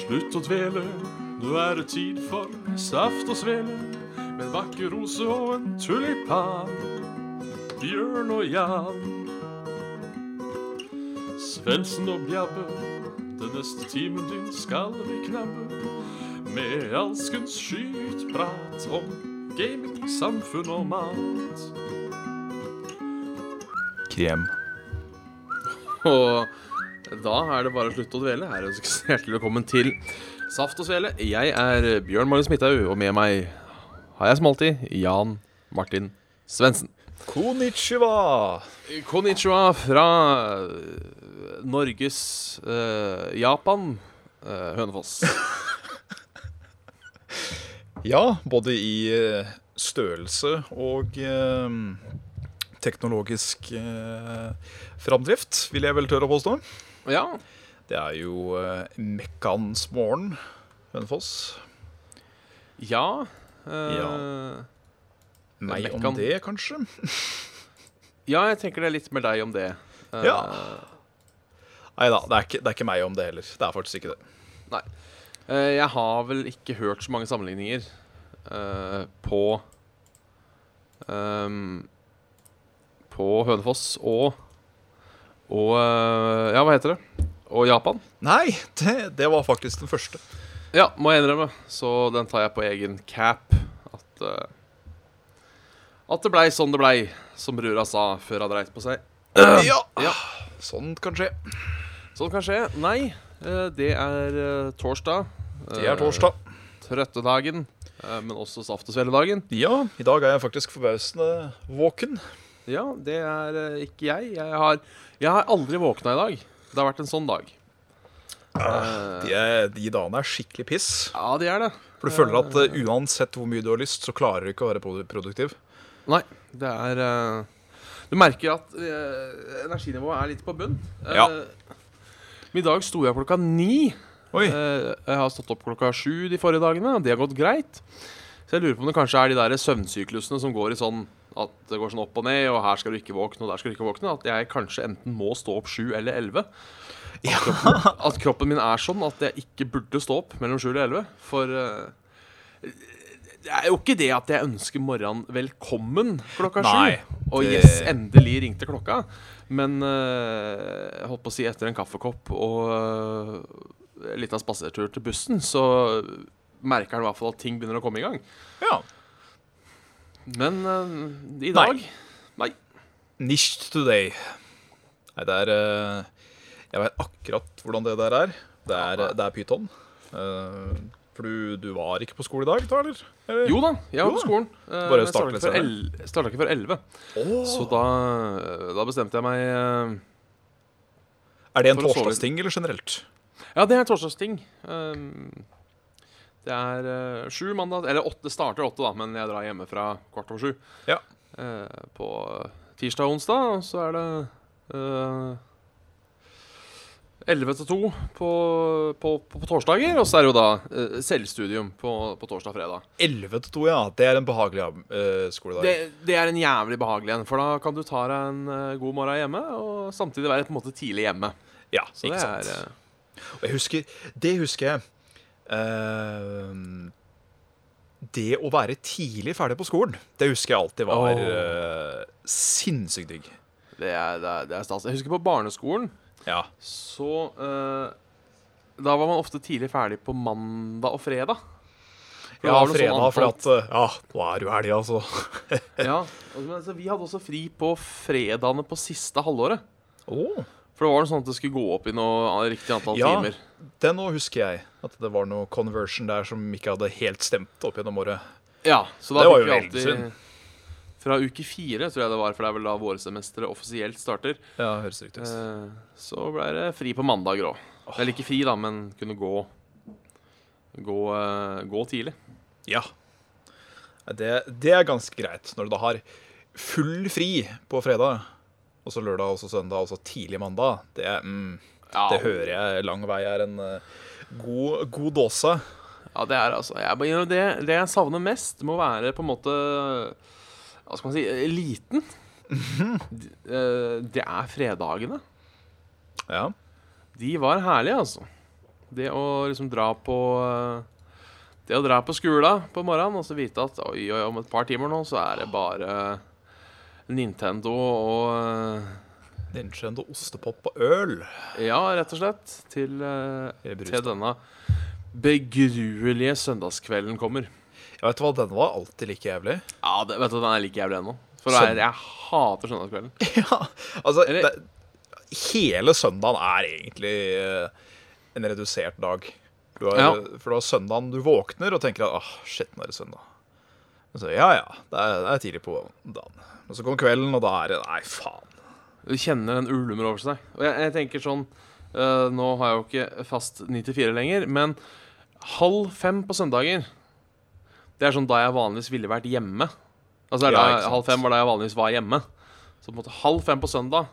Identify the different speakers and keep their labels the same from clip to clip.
Speaker 1: Slutt å dvele, nå er det tid for saft og svele. Med en vakker rose og en tulipan. Bjørn og Jan. Svendsen og Bjabbe, den neste timen din skal vi knabbe. Med alskens skytprat om gaming, samfunn og mat.
Speaker 2: Krem.
Speaker 1: Og da er det bare å slutte å dvele. Her ønskes hjertelig velkommen til Saft og Svele. Jeg er Bjørn Marius Midthaug, og med meg har jeg som alltid Jan Martin Svendsen.
Speaker 2: Konnichiwa!
Speaker 1: Konnichiwa fra eh, Norges eh, Japan, eh, Hønefoss.
Speaker 2: Ja, både i eh, størrelse og eh, teknologisk eh, framdrift, vil jeg vel tørre å påstå.
Speaker 1: Ja,
Speaker 2: Det er jo eh, mekkaens morgen, Hønefoss.
Speaker 1: ja. eh,
Speaker 2: Ja. Meg
Speaker 1: Mekkan.
Speaker 2: om det, kanskje.
Speaker 1: ja, jeg tenker det er litt med deg om det. Eh,
Speaker 2: Ja. Nei da, det, er ikke- det er ikke meg om det heller. Det er faktisk ikke det.
Speaker 1: Nei. Eh, jeg har vel ikke hørt så mange sammenligninger eh, på ehm, På Hønefoss og Og eh, Ja, hva heter det? Og Japan.
Speaker 2: Nei, det, det var faktisk den første.
Speaker 1: Ja, må jeg innrømme. Så den tar jeg på egen cap. At eh, At det blei sånn det blei, som brura sa før han dreit på seg.
Speaker 2: Ja,
Speaker 1: Ja.
Speaker 2: Sånn kan skje.
Speaker 1: Sånn kan skje. Nei, eh, det er eh, torsdag.
Speaker 2: Det er
Speaker 1: Eh,
Speaker 2: torsdag.
Speaker 1: Trøttedagen, eh, men også saft- og sveledagen.
Speaker 2: Ja, i dag er jeg faktisk forbausende våken.
Speaker 1: Ja, det er eh, ikke jeg. Jeg har, jeg har aldri våkna i dag. Det har vært en sånn dag. Eh,
Speaker 2: De, er, de dagene er skikkelig piss.
Speaker 1: Ja, det er det.
Speaker 2: For du føler at eh, uansett hvor mye du har lyst, så klarer du ikke å være produ- produktiv.
Speaker 1: Nei, det er eh, Du merker at eh, energinivået er litt på bunn. Eh,
Speaker 2: Ja.
Speaker 1: men I dag sto jeg opp klokka ni.
Speaker 2: Oi,
Speaker 1: Eh, jeg har stått opp klokka sju de forrige dagene, og det har gått greit. Så jeg lurer på om det kanskje er de der søvnsyklusene som går i sånn at det går sånn opp og ned, og her skal du ikke våkne, og der skal du ikke våkne. At jeg kanskje enten må stå opp sju eller elleve. At, kroppen, at kroppen min er sånn at jeg ikke burde stå opp mellom sju og elleve. For eh, det er jo ikke det at jeg ønsker morgenen velkommen klokka
Speaker 2: Nei,
Speaker 1: sju. Og
Speaker 2: det-
Speaker 1: yes, endelig ringte klokka. Men eh, jeg holdt på å si etter en kaffekopp og eh, en liten spasertur til bussen, så merker han i hvert fall at ting begynner å komme i gang.
Speaker 2: ja.
Speaker 1: Men eh, i dag Nei.
Speaker 2: Nicht today. Nei, det er eh, Jeg vet akkurat hvordan det der er. Det er, det er pyton. Eh, For du, du var ikke på skole i dag, da, eller? eller?
Speaker 1: Jo da, jeg
Speaker 2: Jo
Speaker 1: var på
Speaker 2: da.
Speaker 1: skolen. eh,
Speaker 2: Bare
Speaker 1: men jeg
Speaker 2: starte litt
Speaker 1: starta ikke før elleve.
Speaker 2: Åh,
Speaker 1: Så da, da bestemte jeg meg eh,
Speaker 2: er det en
Speaker 1: for å sove
Speaker 2: torsdagsting eller generelt?
Speaker 1: Ja, det er torsdagsting. Um, det er eh, sju mandag Eller åtte, det starter åtte, da, men jeg drar hjemmefra kvart over sju.
Speaker 2: Ja.
Speaker 1: Eh, på tirsdag og onsdag, og så er det eh, 11 til 2 på, på, på, på torsdager. Og så er det jo da eh, selvstudium på, på torsdag og fredag.
Speaker 2: 11 til 2, ja. Det er en behagelig eh, skoledag.
Speaker 1: Det, det er en jævlig behagelig en, for da kan du ta deg en eh, god morgen hjemme, og samtidig være på en måte tidlig hjemme.
Speaker 2: ja,
Speaker 1: Så
Speaker 2: ikke sant?
Speaker 1: det er eh,
Speaker 2: Og jeg husker, det husker jeg. Ehm, det å være tidlig ferdig på skolen, det husker jeg alltid var
Speaker 1: Åh.
Speaker 2: eh, sinnssykt digg.
Speaker 1: det er, det er, det er stas. Jeg husker på barneskolen.
Speaker 2: Ja.
Speaker 1: Så eh, Da var man ofte tidlig ferdig på mandag og fredag. For
Speaker 2: ja,
Speaker 1: da var det
Speaker 2: fredag,
Speaker 1: sånn
Speaker 2: for at
Speaker 1: antall-
Speaker 2: eh, Ja, nå er du helg, altså.
Speaker 1: ja, og- men altså, Vi hadde også fri på fredagene på siste halvåret.
Speaker 2: Åh.
Speaker 1: For det var sånn at det skulle gå opp i noe riktig antall
Speaker 2: Ja.
Speaker 1: timer.
Speaker 2: Det nå husker jeg. At det var noe conversion der som ikke hadde helt stemt opp gjennom året.
Speaker 1: Ja, så da
Speaker 2: Det var
Speaker 1: fikk
Speaker 2: jo
Speaker 1: vi
Speaker 2: veldig
Speaker 1: alltid
Speaker 2: synd.
Speaker 1: Fra uke fire, tror jeg det var, for det er vel da vårsemesteret offisielt starter.
Speaker 2: Ja, høres riktig ut.
Speaker 1: eh, så ble det fri på mandager òg. Eller ikke fri, da, men kunne gå Gå, eh, gå tidlig.
Speaker 2: Ja. Det, det er ganske greit når du da har full fri på fredag, og så lørdag og så søndag og så tidlig mandag. Det er mm,
Speaker 1: Ja,
Speaker 2: Det hører jeg lang vei er en eh, god, god dåse.
Speaker 1: Ja, det er altså jeg, bare innrømmer det, det jeg savner mest, må være på en måte Hva skal man si eliten. D- eh, Det er fredagene.
Speaker 2: Ja.
Speaker 1: De var herlige, altså. Det å liksom dra på eh, Det å dra på skolen på morgenen og så vite at oi, oi, om et par timer nå så er det bare Nintendo og
Speaker 2: Nintendo ostepop og øl.
Speaker 1: eh, Ja, rett og slett. Til, eh,
Speaker 2: i brus.
Speaker 1: til denne begruelige søndagskvelden kommer.
Speaker 2: Jeg vet hva, den var alltid like jævlig.
Speaker 1: Ja, det, vet du, den er like jævlig ennå. For det
Speaker 2: Sånn.
Speaker 1: er, jeg hater søndagskvelden.
Speaker 2: Ja, altså
Speaker 1: Eller-
Speaker 2: det, Hele søndagen er egentlig eh, en redusert dag. Du har,
Speaker 1: Ja.
Speaker 2: For du har søndagen du våkner og tenker at ah, shit, nå er det søndag. Og så, ja ja, det er, det er tidlig på dagen. Men så kommer kvelden, og da er det Nei, faen.
Speaker 1: Du kjenner den ulmer over seg. Og jeg, jeg tenker sånn eh, Nå har jeg jo ikke fast 9-4 lenger, men halv fem på søndager Det er sånn da jeg vanligvis ville vært hjemme. Altså det er
Speaker 2: Ja, ikke
Speaker 1: da,
Speaker 2: sant.
Speaker 1: Halv fem var da jeg vanligvis var hjemme. Så på en måte halv fem på søndag,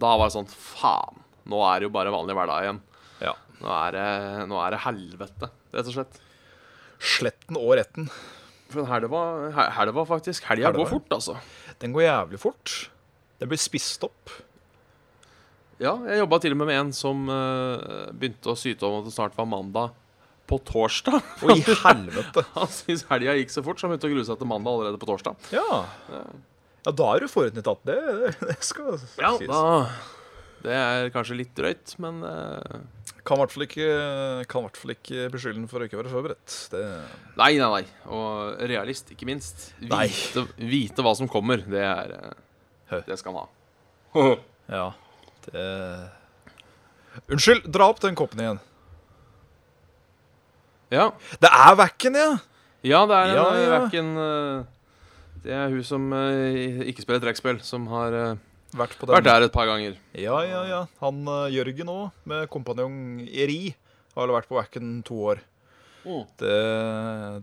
Speaker 1: da var jeg sånn Faen, nå er det jo bare vanlig hverdag igjen.
Speaker 2: Ja.
Speaker 1: Nå er det, nå er det helvete, rett og slett.
Speaker 2: Sletten og retten.
Speaker 1: For den helga he- helga faktisk Helga
Speaker 2: Helga,
Speaker 1: går
Speaker 2: ja.
Speaker 1: fort, altså.
Speaker 2: Den går jævlig fort. Den blir spist opp.
Speaker 1: Ja, jeg jobba til og med med en som eh, begynte å syte om at det snart var mandag på torsdag.
Speaker 2: Og i helvete.
Speaker 1: Han syntes helga gikk så fort, så han begynte å grue seg til mandag allerede på torsdag.
Speaker 2: Ja. ja, da er du forutinntatt. Det, det, det skal
Speaker 1: Ja,
Speaker 2: sies.
Speaker 1: da, Det er kanskje litt drøyt, men eh,
Speaker 2: Kan i hvert fall ikke, kan i hvert fall ikke beskylde den for å ikke være forberedt. Det,
Speaker 1: Nei, nei, nei. Og realist, ikke minst.
Speaker 2: Nei.
Speaker 1: Vite, vite hva som kommer, det er eh,
Speaker 2: Hø.
Speaker 1: Det skal han ha.
Speaker 2: ja, det Unnskyld, dra opp den koppen igjen.
Speaker 1: Ja,
Speaker 2: Det er Wacken, ja!
Speaker 1: ja det er en
Speaker 2: Ja,
Speaker 1: eh,
Speaker 2: ja.
Speaker 1: verken eh, Det er hun som eh, ikke spiller trekkspill, som har eh,
Speaker 2: Vært på den.
Speaker 1: vært der et par ganger.
Speaker 2: Ja, ja, ja. Han eh, Jørgen òg, med kompanjong Eri, har vel vært på Wacken to år.
Speaker 1: Mm.
Speaker 2: Det,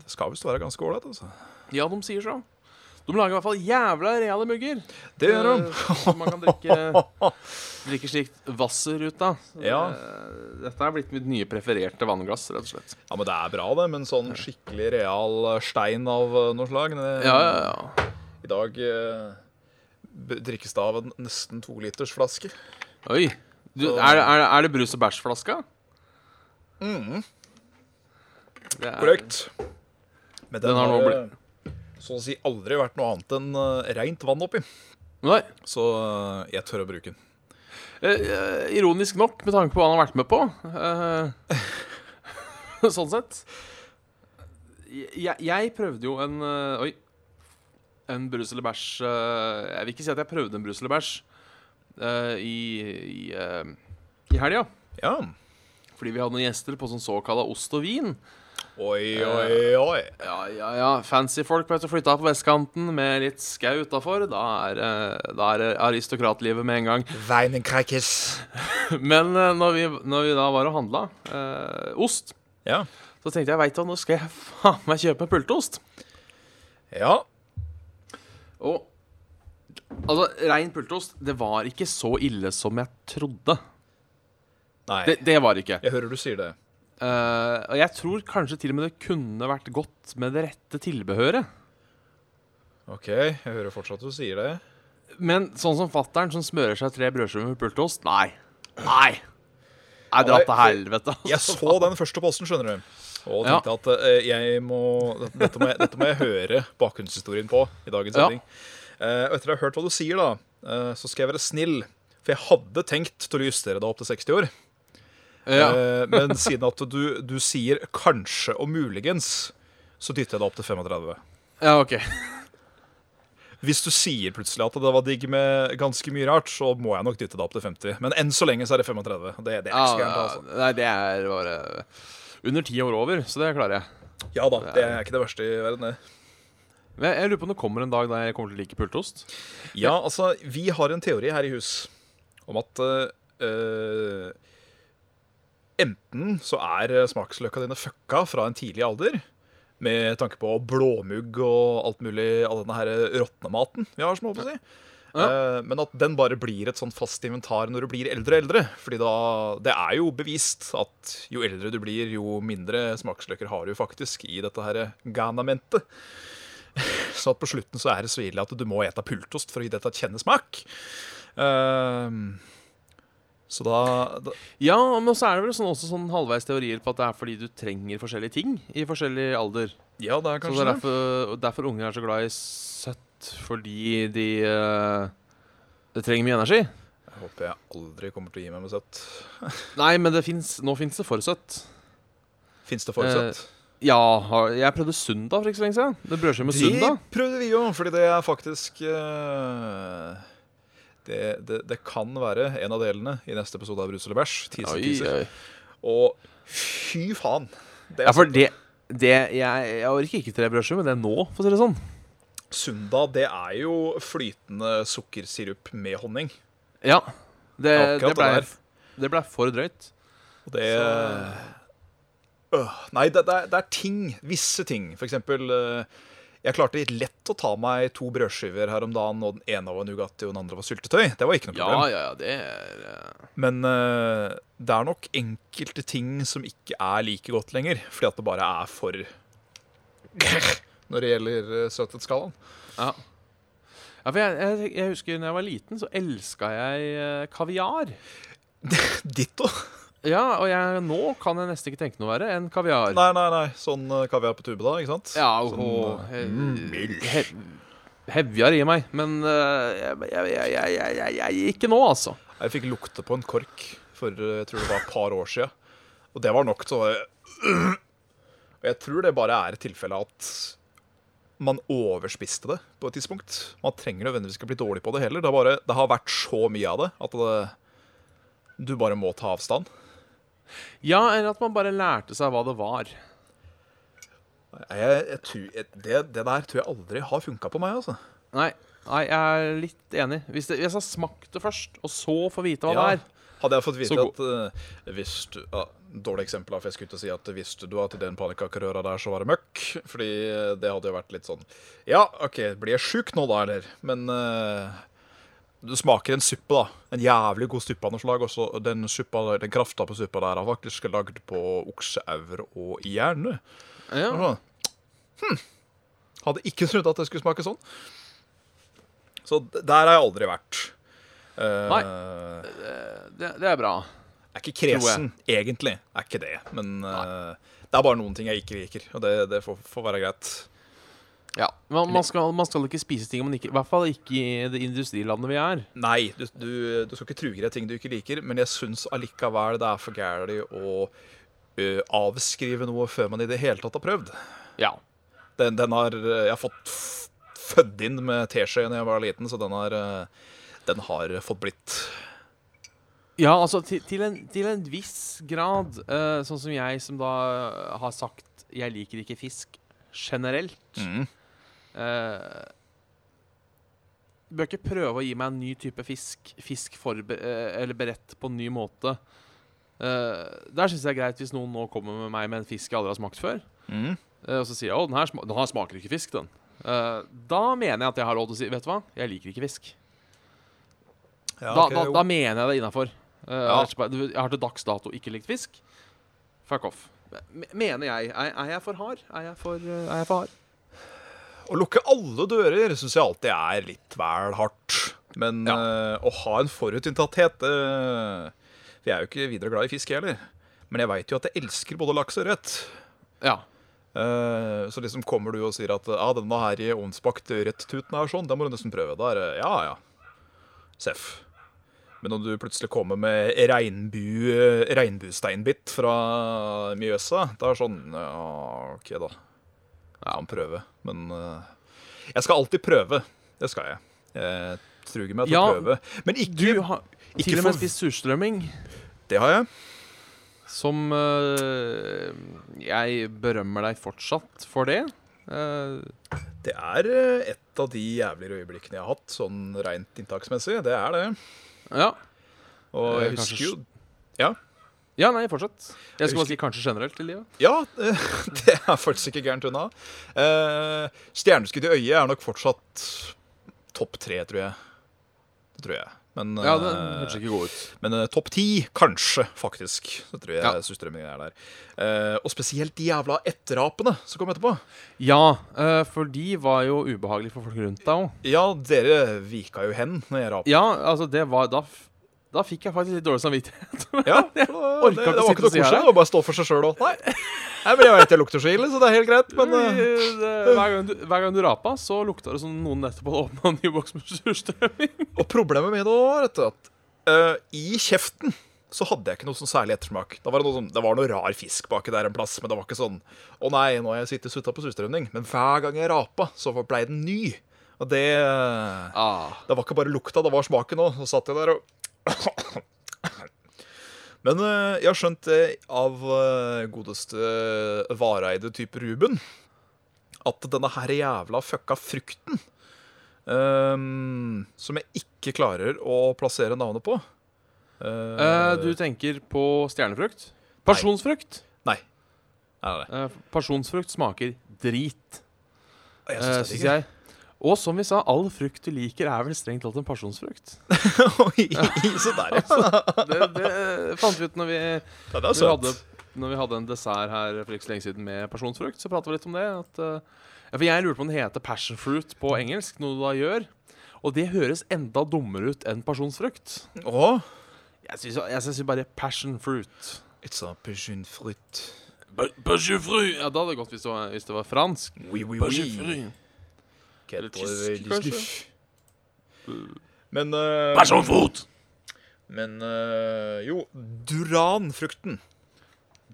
Speaker 2: det skal visst være ganske ålreit, altså.
Speaker 1: Ja, de sier så. De lager i hvert fall jævla reale mugger.
Speaker 2: Det gjør han.
Speaker 1: Eh, Som man kan drikke, drikke slikt Wasser ut av. Så det-
Speaker 2: Ja.
Speaker 1: Dette er blitt mitt nye prefererte vannglass, rett og slett.
Speaker 2: Ja, men det er bra, det, med en sånn skikkelig real eh, stein av eh, noe slag. Det-
Speaker 1: Ja, ja, ja.
Speaker 2: I dag eh, b- drikkes det av en nesten to liters flaske.
Speaker 1: Oi. Du, er, er, er det brus- og bæsjflaska? Det er-
Speaker 2: Mm. Korrekt. Men den,
Speaker 1: Den har
Speaker 2: har,
Speaker 1: nå
Speaker 2: eh, så å si aldri vært noe annet enn eh, rent vann oppi.
Speaker 1: Nei.
Speaker 2: Så eh, jeg tør å bruke den.
Speaker 1: Eh, eh, ironisk nok, med tanke på hva han har vært med på. eh, sånn sett. Jeg, jeg prøvde jo en eh, Oi. En brus eller bæsj eh, Jeg vil ikke si at jeg prøvde en brus eller bæsj eh, i, i, eh, i helga.
Speaker 2: Ja.
Speaker 1: Fordi vi hadde noen gjester på sånn såkalla ost og vin.
Speaker 2: Oi,
Speaker 1: Eh.
Speaker 2: oi, oi.
Speaker 1: Ja, ja, ja. Fancy folk vet du, flytta på vestkanten med litt skau utafor. Da, er, eh, da er det aristokratlivet med en gang.
Speaker 2: Weinenkreikes.
Speaker 1: Men eh, når vi, når vi da var og handla eh, ost,
Speaker 2: Ja.
Speaker 1: så tenkte jeg veit du, hva, nå skal jeg faen meg kjøpe pulteost.
Speaker 2: ja.
Speaker 1: Og altså, rein pulteost, det var ikke så ille som jeg trodde.
Speaker 2: Nei,
Speaker 1: Det, det var det ikke.
Speaker 2: jeg hører du sier det.
Speaker 1: Eh, og jeg tror kanskje til og med det kunne vært godt med det rette tilbehøret.
Speaker 2: OK, jeg hører fortsatt du sier det.
Speaker 1: Men sånn som fattern som smører seg tre brødskiver med pultost Nei. Nei. Jeg drar til helvete. altså.
Speaker 2: Jeg så den første posten, skjønner du. Og tenkte at eh, jeg må dette, må jeg, dette må jeg høre bakgrunnshistorien på i dagens
Speaker 1: Ja.
Speaker 2: sending. Eh, og etter jeg har hørt hva du sier, da, eh, så skal jeg være snill. For jeg hadde tenkt til å justere deg opp til 60 år.
Speaker 1: Ja.
Speaker 2: Eh, men siden at du, du sier kanskje og muligens, så dytter jeg deg opp til 35.
Speaker 1: ja, OK.
Speaker 2: Hvis du sier plutselig at det var digg med ganske mye rart, så må jeg nok dytte deg opp til 50. Men enn så lenge så er det 35. og Det, det er
Speaker 1: Ja,
Speaker 2: ikke så gærent, altså.
Speaker 1: nei, det er bare under ti år over, så det klarer jeg.
Speaker 2: Ja da, det er ikke det verste i verden, det.
Speaker 1: Men jeg, jeg lurer på om det kommer en dag der jeg kommer til å like pultost.
Speaker 2: Ja, altså, vi har en teori her i hus om at eh, eh, enten så er smaksløka dine fucka fra en tidlig alder, med tanke på blåmugg og alt mulig av denne her råtnematen vi har, som jeg håper å si. Eh, men at den bare blir et sånn fast inventar når du blir eldre og eldre. Fordi da, det er jo bevist at jo eldre du blir, jo mindre smaksløker har du faktisk i dette her ganamentet. Så at på slutten så er det så ille at du må ete pultost for å gi dette et kjennesmak. Ehm, Så da, da
Speaker 1: Ja, men så er det vel sånn, også sånn halvveis teorier på at det er fordi du trenger forskjellige ting i forskjellig alder.
Speaker 2: Ja, det er
Speaker 1: så det
Speaker 2: kanskje
Speaker 1: er
Speaker 2: det.
Speaker 1: derfor, og derfor unger er så glad i søtt, fordi de eh, Det trenger mye energi.
Speaker 2: Jeg håper jeg aldri kommer til å gi meg med søtt.
Speaker 1: Nei, men det finnes, nå fins det for søtt.
Speaker 2: Fins det for
Speaker 1: Eh,
Speaker 2: søtt?
Speaker 1: Ja, har- jeg prøvde Sunda for ikke så lenge siden. Det brødskive med Sunda.
Speaker 2: Det prøvde vi òg, fordi det er faktisk eh, det, det, det kan være en av delene i neste episode av Brus eller bæsj. Teaser,
Speaker 1: Oi,
Speaker 2: teaser.
Speaker 1: oi.
Speaker 2: Og fy faen! Det
Speaker 1: Ja,
Speaker 2: er
Speaker 1: for det, det Jeg, jeg orker ikke tre brødskiver, men det er nå, for å si det sånn.
Speaker 2: Sunda det er jo flytende sukkersirup med honning.
Speaker 1: Ja. Det,
Speaker 2: Akkurat
Speaker 1: det
Speaker 2: det
Speaker 1: blei
Speaker 2: der.
Speaker 1: det ble for drøyt.
Speaker 2: Og det Øh, Nei, det, det, er, det er ting. Visse ting. For eksempel eh, Jeg klarte lett å ta meg to brødskiver her om dagen, og den ene var Nugatti og den andre var syltetøy. Det var ikke noe
Speaker 1: Ja,
Speaker 2: problem.
Speaker 1: ja, ja, det er eh,
Speaker 2: Men eh, det er nok enkelte ting som ikke er like godt lenger, fordi at det bare er for Når det gjelder eh, søthetsskalaen.
Speaker 1: Ja. Ja, for jeg, jeg, jeg husker da jeg var liten, så elska jeg eh, kaviar.
Speaker 2: Ditto.
Speaker 1: Ja, og jeg, nå kan jeg nesten ikke tenke noe verre enn kaviar.
Speaker 2: Nei, nei, nei. Sånn eh, kaviar på tube, da, ikke sant?
Speaker 1: Ja, og
Speaker 2: sånn,
Speaker 1: mm,
Speaker 2: eh,
Speaker 1: he- he- Hevjar i meg, men eh, jeg, jeg, jeg, jeg, jeg, jeg, jeg Ikke nå, altså.
Speaker 2: Jeg fikk lukte på en kork for eh, jeg tror det var et par år siden. Og det var nok til å Og jeg tror det bare er et tilfelle at man overspiste det på et tidspunkt. Man trenger nødvendigvis ikke bli dårlig på det heller. Det, er bare, det har vært så mye av det at det, du bare må ta avstand.
Speaker 1: Ja, eller at man bare lærte seg hva det var.
Speaker 2: Nei, Jeg, jeg, tror- jeg, det, det der tror jeg aldri har funka på meg, altså.
Speaker 1: Nei, nei jeg er litt enig. Hvis, det, hvis jeg smakte det først, og så får vite hva det er
Speaker 2: Hadde jeg fått vite
Speaker 1: Så
Speaker 2: at eh, hvis du ja, Dårlig eksempel, da, for jeg skulle til å si at visste du at i den pannekakerøra der så var det møkk? Fordi eh, det hadde jo vært litt sånn Ja, OK, blir jeg sjuk nå da, eller? Men eh, du smaker en suppe, da. En jævlig god suppe av noe slag. Og så den, suppa, den krafta på suppa der er faktisk lagd på okseaur og hjerne.
Speaker 1: ja.
Speaker 2: Og sånn, Hm. Hadde ikke trodd at det skulle smake sånn. Så d- der har jeg aldri vært. Eh,
Speaker 1: Det, det er bra.
Speaker 2: er ikke kresen, egentlig. Er ikke det. Men eh, det er bare noen ting jeg ikke liker, og det, det får, får være greit.
Speaker 1: Ja, man, man, skal, man skal ikke spise ting man ikke I hvert fall ikke i det industrilandet vi er.
Speaker 2: Nei, du, du, du skal ikke truge deg ting du ikke liker, men jeg syns allikevel det er for gærlig å eh, avskrive noe før man i det hele tatt har prøvd.
Speaker 1: Ja.
Speaker 2: Den, den har eh, jeg har fått f- fødd inn med teskje da jeg var liten, så den har, eh, den har fått blitt.
Speaker 1: Ja, altså til, til, en, til en viss grad, eh, sånn som jeg som da eh, har sagt Jeg liker ikke fisk generelt.
Speaker 2: Mm.
Speaker 1: Eh, bør ikke prøve å gi meg en ny type fisk, fisk forbe eh, eller beredt på en ny måte. Eh, der syns jeg det er greit hvis noen nå kommer med meg med en fisk jeg aldri har smakt før.
Speaker 2: Mm.
Speaker 1: Eh, og så sier jeg at den, her sma- den her smaker ikke fisk, den. Eh, da mener jeg at jeg har lov til å si Vet du hva, jeg liker ikke fisk.
Speaker 2: Ja,
Speaker 1: da,
Speaker 2: ok,
Speaker 1: da,
Speaker 2: jo.
Speaker 1: da mener jeg det innafor. Eh,
Speaker 2: Ja.
Speaker 1: Jeg har til dags dato ikke likt fisk. Fuck off. Me- Mener jeg. Er, er jeg for hard? Er jeg for, eh, er jeg for hard?
Speaker 2: Å lukke alle dører syns jeg alltid er litt vel hardt. Men eh, å ha en forutinntatthet eh, For jeg er jo ikke videre glad i fisk, jeg heller. Men jeg veit jo at jeg elsker både laks og ørret.
Speaker 1: Ja.
Speaker 2: Eh, så liksom kommer du og sier at ah, 'denne her i ovnsbakt ørrettuten er sånn', da må du nesten prøve. Da er det ja, ja. Seff. Men om du plutselig kommer med regnbu, regnbusteinbit fra Mjøsa, da er det sånn Ja, OK, da. Jeg kan prøve, men eh, Jeg skal alltid prøve. Det skal jeg. Jeg truger meg til
Speaker 1: Ja,
Speaker 2: å prøve. Men ikke
Speaker 1: Du har
Speaker 2: ikke
Speaker 1: til og med
Speaker 2: for-
Speaker 1: spist surstrømming,
Speaker 2: Det har jeg.
Speaker 1: som eh, Jeg berømmer deg fortsatt for det. Eh,
Speaker 2: Det er eh, et av de jævligere øyeblikkene jeg har hatt, sånn rent inntaksmessig. Det er det.
Speaker 1: ja.
Speaker 2: Og
Speaker 1: Eh,
Speaker 2: jeg
Speaker 1: kanskje
Speaker 2: husker jo
Speaker 1: s-
Speaker 2: Ja.
Speaker 1: ja, nei, fortsett. Jeg skulle
Speaker 2: husker-
Speaker 1: bare si kanskje generelt til livet.
Speaker 2: Ja, eh, det er faktisk ikke gærent unna. Eh, Stjerneskudd i øyet er nok fortsatt topp tre, tror jeg. Det tror jeg. Men,
Speaker 1: Ja, det
Speaker 2: eh,
Speaker 1: hørtes ikke god ut.
Speaker 2: men eh, topp ti, kanskje, faktisk. Så tror jeg
Speaker 1: Ja.
Speaker 2: surstrømmingen er der. Eh, og spesielt de jævla etterapene som kom etterpå.
Speaker 1: Ja, eh, for de var jo ubehagelige for folk rundt deg òg.
Speaker 2: Ja, dere vika jo hen når jeg rapa.
Speaker 1: Ja, altså det var da f- Da fikk jeg faktisk litt dårlig samvittighet.
Speaker 2: Ja, for da,
Speaker 1: orka
Speaker 2: det,
Speaker 1: ikke
Speaker 2: det
Speaker 1: å
Speaker 2: var ikke
Speaker 1: sitte og
Speaker 2: noe
Speaker 1: si
Speaker 2: koselig.
Speaker 1: her, da.
Speaker 2: Det var bare å stå for seg sjøl òg. Nei. Nei, men jeg vet jeg lukter så ille, så det er helt greit, men eh,
Speaker 1: Det- det- hver, gang du, hver gang du rapa, så lukta det som noen nettopp hadde åpna en ny boks med surstrømming.
Speaker 2: Og problemet med det var vet du, at eh, i kjeften så hadde jeg ikke noe sånn særlig ettersmak. Da var det, noe sånn, det var noe rar fisk baki der en plass, men det var ikke sånn Å nei, nå har jeg sittet sutta på surstrømning. Men hver gang jeg rapa, så var- blei den ny. Og det eh,
Speaker 1: Ah.
Speaker 2: Det var ikke bare lukta, det var smaken òg. Så satt jeg der og Men eh, jeg har skjønt det av eh, godeste eh, Vareide type Ruben at denne her jævla fucka frukten ehm, Som jeg ikke klarer å plassere navnet på. eh,
Speaker 1: Eh, du tenker på stjernefrukt? Pasjonsfrukt.
Speaker 2: Nei. Nei, nei, nei.
Speaker 1: Eh, pasjonsfrukt smaker drit,
Speaker 2: Jeg
Speaker 1: eh,
Speaker 2: syns
Speaker 1: syns
Speaker 2: det er
Speaker 1: jeg. Og som vi sa, all frukt du liker, er vel strengt talt en pasjonsfrukt.
Speaker 2: digg. Så der, ja.
Speaker 1: Det, det fant vi ut når vi
Speaker 2: Ja, det er
Speaker 1: vi hadde,
Speaker 2: søtt.
Speaker 1: når vi hadde en dessert her for ikke så lenge siden med personsfrukt, så pratet vi litt om det. At, eh, ja, for jeg lurte på om den heter passion fruit på engelsk, noe du da gjør. Og det høres enda dummere ut enn personsfrukt.
Speaker 2: Å,
Speaker 1: Jeg syns, jeg synes bare passion fruit.
Speaker 2: it's a passion fruit.
Speaker 1: Passion fruit! Ja, da hadde det gått hvis det var, hvis det var fransk. Mm.
Speaker 2: Oui, oui,
Speaker 1: Passion
Speaker 2: oui.
Speaker 1: fruit. Eller
Speaker 2: Eller
Speaker 1: tysk,
Speaker 2: tysk,
Speaker 1: kanskje?
Speaker 2: kanskje. Men eh,
Speaker 1: Passion fruit!
Speaker 2: Men eh, jo, duranfrukten.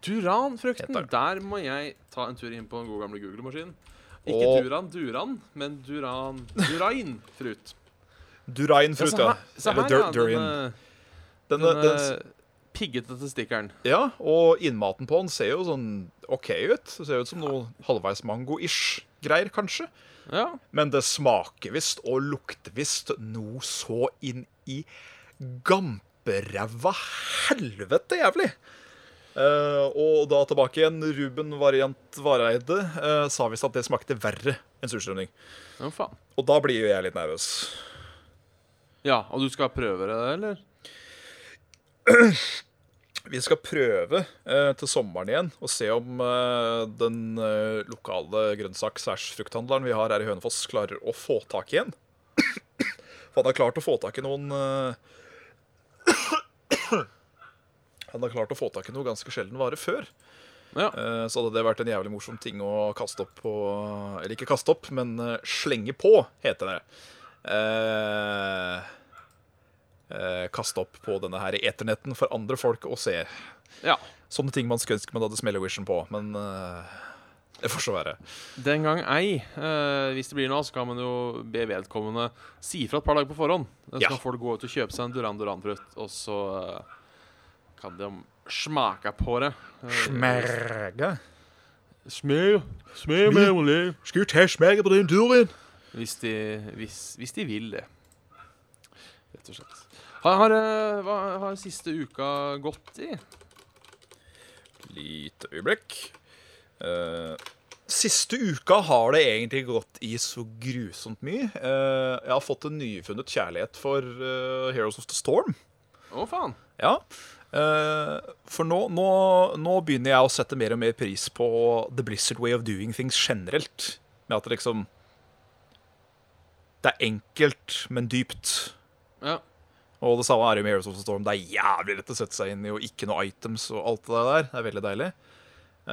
Speaker 1: Duranfrukten.
Speaker 2: Heter den.
Speaker 1: Der må jeg ta en tur inn på den gode gamle Google-maskinen. Ikke
Speaker 2: Og-
Speaker 1: duran, duran, men duran, durain fruit.
Speaker 2: Durainfrukt, ja.
Speaker 1: Se
Speaker 2: Eller
Speaker 1: her,
Speaker 2: dur
Speaker 1: ja.
Speaker 2: durin.
Speaker 1: Denne,
Speaker 2: Den,
Speaker 1: Den
Speaker 2: den,
Speaker 1: eh, piggete stikkeren.
Speaker 2: ja, og innmaten på den ser jo sånn OK ut. Det ser ut som noe halvveis mango-ish greier, kanskje.
Speaker 1: Ja.
Speaker 2: Men det smaker visst og lukter visst noe så inn i gamperæva helvete jævlig. Eh, og da tilbake igjen. Ruben Variant Vareide eh, sa visst at det smakte verre enn surstrømning.
Speaker 1: ja, faen.
Speaker 2: Og da blir jo jeg litt nervøs.
Speaker 1: Ja, og du skal prøve det, eller?
Speaker 2: Vi skal prøve eh, til sommeren igjen og se om eh, den eh, lokale grønnsak-frukthandleren vi har her i Hønefoss, klarer å få tak i en. For han har klart å få tak i noen eh, Han har klart å få tak i noe ganske sjelden vare før.
Speaker 1: Ja.
Speaker 2: Eh, så hadde det vært en jævlig morsom ting å kaste opp på Eller ikke kaste opp, men eh, slenge på, heter det. Eh, eh, kaste opp på denne her eternetten for andre folk å se.
Speaker 1: ja.
Speaker 2: Sånne ting man skulle ønske man hadde Smell-O-Vision på, men eh, det får så være.
Speaker 1: Den gang ei. Eh, hvis det blir noe, så kan man jo be vedkommende si fra et par dager på forhånd. Så
Speaker 2: Ja.
Speaker 1: kan folk gå ut og kjøpe seg en Duran Duran-frukt, og så eh, kan de smake på det. Eh,
Speaker 2: Smerge.
Speaker 1: Smør. Smør med olje.
Speaker 2: Skulle til smerge på den turen.
Speaker 1: Hvis de, hvis, hvis de vil det. Rett og slett. Har, har, eh, hva har siste uka gått i?
Speaker 2: Lite øyeblikk. Eh, siste uka har det egentlig gått i så grusomt mye. Eh, jeg har fått en nyfunnet kjærlighet for eh, Heroes of the Storm.
Speaker 1: Å, faen.
Speaker 2: Ja. eh, for nå, nå, nå begynner jeg å sette mer og mer pris på The Blizzard Way of Doing Things generelt. Med at det liksom Det er enkelt, men dypt.
Speaker 1: Ja.
Speaker 2: Og det samme er jo med Heroes of the Storm. Det er jævlig lett å sette seg inn i, og ikke noe items og alt det der. Det er veldig deilig.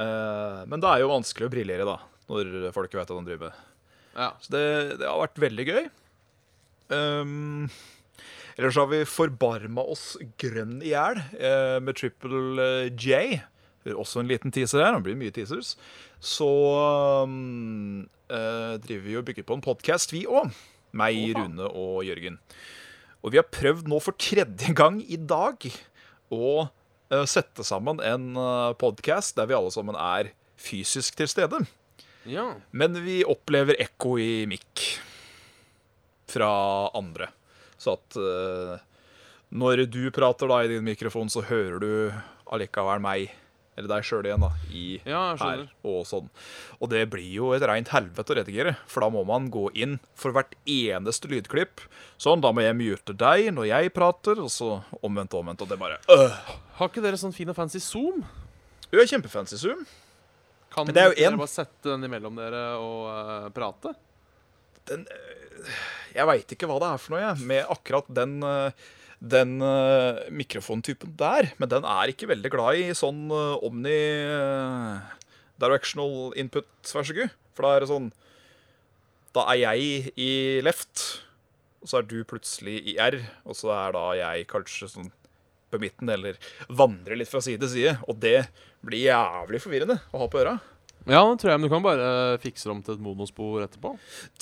Speaker 2: Eh, men det er jo vanskelig å briljere, da, når folk veit hva de driver med.
Speaker 1: ja.
Speaker 2: Så det, det har vært veldig gøy. Um, ellers har vi forbarma oss grønn i hjel eh, med Triple eh, J. Det er Også en liten teaser her. Det blir mye teasers. Så um, eh, driver vi og bygger på en podkast, vi òg. Meg,
Speaker 1: Å, faen.
Speaker 2: Rune og Jørgen. Og vi har prøvd nå for tredje gang i dag å eh, sette sammen en podkast der vi alle sammen er fysisk til stede.
Speaker 1: ja.
Speaker 2: Men vi opplever ekko i mikk fra andre. Så at eh, når du prater da i din mikrofon, så hører du allikevel meg, eller deg sjøl igjen, da, i
Speaker 1: Ja,
Speaker 2: her
Speaker 1: jeg skjønner.
Speaker 2: og sånn. Og det blir jo et reint helvete å redigere, for da må man gå inn for hvert eneste lydklipp. Sånn, da må jeg mute deg når jeg prater, og så omvendt, omvendt, og det bare øh.
Speaker 1: Har ikke dere sånn fin og fancy zoom?
Speaker 2: Du er kjempefancy, Zoom.
Speaker 1: Kan
Speaker 2: Men det er jo
Speaker 1: dere
Speaker 2: en-
Speaker 1: bare sette den imellom dere og eh, prate?
Speaker 2: den eh, Jeg veit ikke hva det er for noe, jeg, med akkurat den, eh, den eh, mikrofontypen der. Men den er ikke veldig glad i sånn eh, omni eh, directional input, vær så god. For da er det sånn Da er jeg i left, og så er du plutselig i r, og så er da jeg kanskje sånn på midten, eller vandrer litt fra side til side. Og det blir jævlig forvirrende å ha på øra.
Speaker 1: Ja, det tror jeg, men du kan bare eh, fikse det om til et monospor etterpå.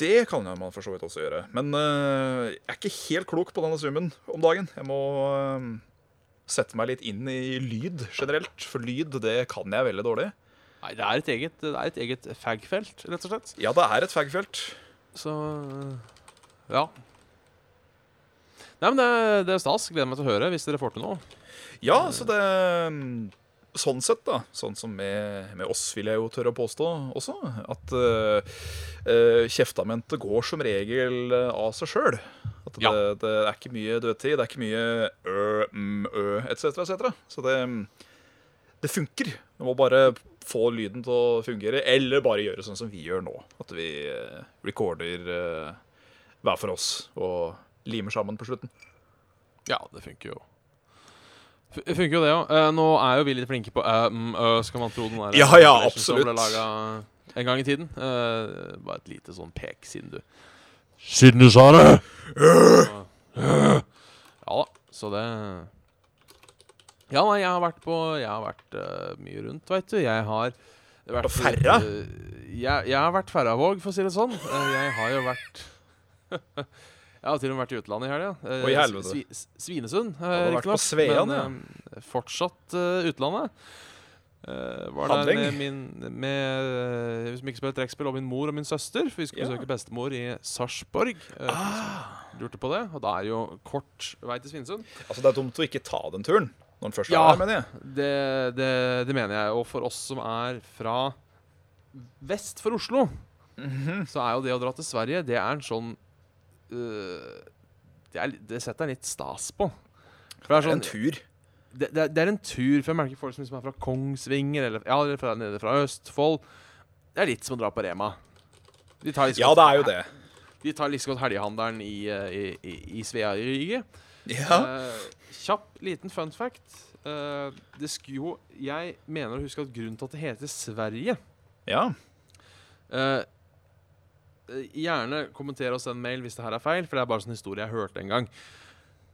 Speaker 2: Det kan jo man for så vidt også gjøre. Men øh, jeg er ikke helt klok på denne zoomen om dagen. Jeg må øh, sette meg litt inn i lyd generelt, for lyd det kan jeg veldig dårlig.
Speaker 1: Nei, det er et eget, det er et eget fag-felt, rett og slett.
Speaker 2: Ja, det er et fagfelt.
Speaker 1: Så eh, ja. Nei, men det, det er stas. Gleder meg til å høre hvis dere får til noe.
Speaker 2: Ja, så det øh, Sånn sett, da. Sånn som med, med oss, vil jeg jo tørre å påstå også. At øh, øh, kjeftamentet går som regel øh, av seg sjøl. At det,
Speaker 1: Ja.
Speaker 2: det er ikke mye dødtid, det er ikke mye ø, mm, ø, etc., etc. Så det, mm, det funker. Du må bare få lyden til å fungere, eller bare gjøre sånn som vi gjør nå. At vi eh, recorder eh, hver for oss og limer sammen på slutten.
Speaker 1: Ja, det funker jo. Fu- Funker jo det òg. nå er jo vi litt flinke på eh, mm, øh, skal man tro den der
Speaker 2: Ja, ja,
Speaker 1: compilation Som ble
Speaker 2: absolutt.
Speaker 1: laget en gang i tiden. Eh, bare et lite sånn pek, siden du
Speaker 3: Siden du sa det!
Speaker 1: Ja da, så det Ja, nei, jeg har vært på Jeg har vært eh, mye rundt, veit du. Jeg har vært
Speaker 2: På Færra?
Speaker 1: eh, jeg, jeg har vært Færravåg, for å si det sånn. Eh, jeg har jo vært Jeg har til og med vært i utlandet i helga. Eh,
Speaker 2: Oi, helvete.
Speaker 1: Svi- S- Svinesund, uh,
Speaker 2: har vært på Svean,
Speaker 1: eh, fortsatt eh, utlandet. Eh, var der
Speaker 2: Handling.
Speaker 1: med min med, eh, Hvis vi ikke spiller trekkspill, og min mor og min søster. For vi skulle
Speaker 2: Ja.
Speaker 1: besøke bestemor i Sarpsborg. eh, lurte på det. Og det er jo kort vei til Svinesund.
Speaker 2: Altså, det er dumt å ikke ta den turen når den først
Speaker 1: Ja.
Speaker 2: er der, mener jeg.
Speaker 1: Det, det, det mener jeg. Og for oss som er fra vest for Oslo, så er jo det å dra til Sverige, det er en sånn øh, det, er, li- det setter jeg litt stas på. For det er
Speaker 2: Det er
Speaker 1: sånn
Speaker 2: en tur.
Speaker 1: det, det, er- det er en tur, for jeg merker folk som liksom er fra Kongsvinger eller, ja, eller fra, nede fra Østfold. Det er litt som å dra på Rema. De tar liksom
Speaker 2: Ja, det er jo det.
Speaker 1: De tar liksom godt helgehandelen i, eh, i, i, i Svearyge.
Speaker 2: Ja.
Speaker 1: Eh, kjapp liten fun fact. Eh, det skulle jo Jeg mener å huske at grunnen til at det heter Sverige
Speaker 2: ja.
Speaker 1: eh, eh, Gjerne kommenter oss en mail hvis det her er feil, for det er bare sånn historie jeg hørte en gang.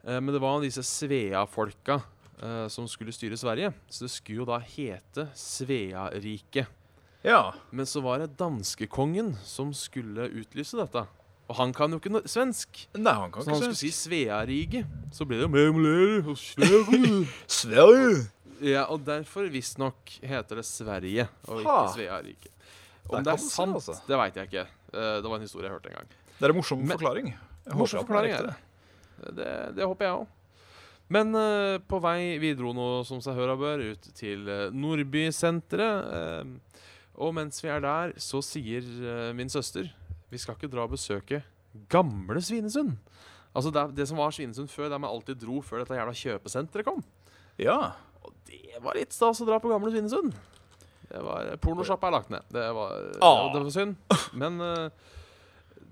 Speaker 1: Eh, men det var disse Svea-folka eh, som skulle styre Sverige, så det skulle jo da hete Sveariket.
Speaker 2: Ja.
Speaker 1: Men så var det danskekongen som skulle utlyse dette. Og han kan jo ikke no- svensk.
Speaker 2: Nei, han kan
Speaker 1: Så når han
Speaker 2: ikke
Speaker 1: skulle
Speaker 2: se.
Speaker 1: si Svearige, så ble det Memler og Sverige.
Speaker 2: Sverige!
Speaker 1: Ja, og derfor visstnok heter det Sverige
Speaker 2: Ha.
Speaker 1: og ikke Svearike.
Speaker 2: Der
Speaker 1: Om
Speaker 2: kan
Speaker 1: det er
Speaker 2: du se,
Speaker 1: sant,
Speaker 2: altså.
Speaker 1: det veit jeg ikke. Eh, Det var en historie jeg hørte en gang.
Speaker 2: Det er en morsom
Speaker 1: Men-
Speaker 2: forklaring. Jeg
Speaker 1: Morsom
Speaker 2: håper at den
Speaker 1: forklaring,
Speaker 2: er
Speaker 1: ja.
Speaker 2: riktig.
Speaker 1: Eh, Det, det håper jeg òg. Men eh, på vei Vi dro nå, som seg høra bør, ut til eh, Nordbysenteret. eh, og mens vi er der, så sier eh, min søster Vi skal ikke dra og besøke gamle Svinesund. Altså det, er- det som var Svinesund før, der man alltid dro før dette jævla kjøpesenteret kom.
Speaker 2: Ja.
Speaker 1: Og det var litt stas å dra på gamle Svinesund. Det var eh, Pornosjappa er lagt ned. Det var, det
Speaker 2: Ah.
Speaker 1: var, det var synd. Men eh,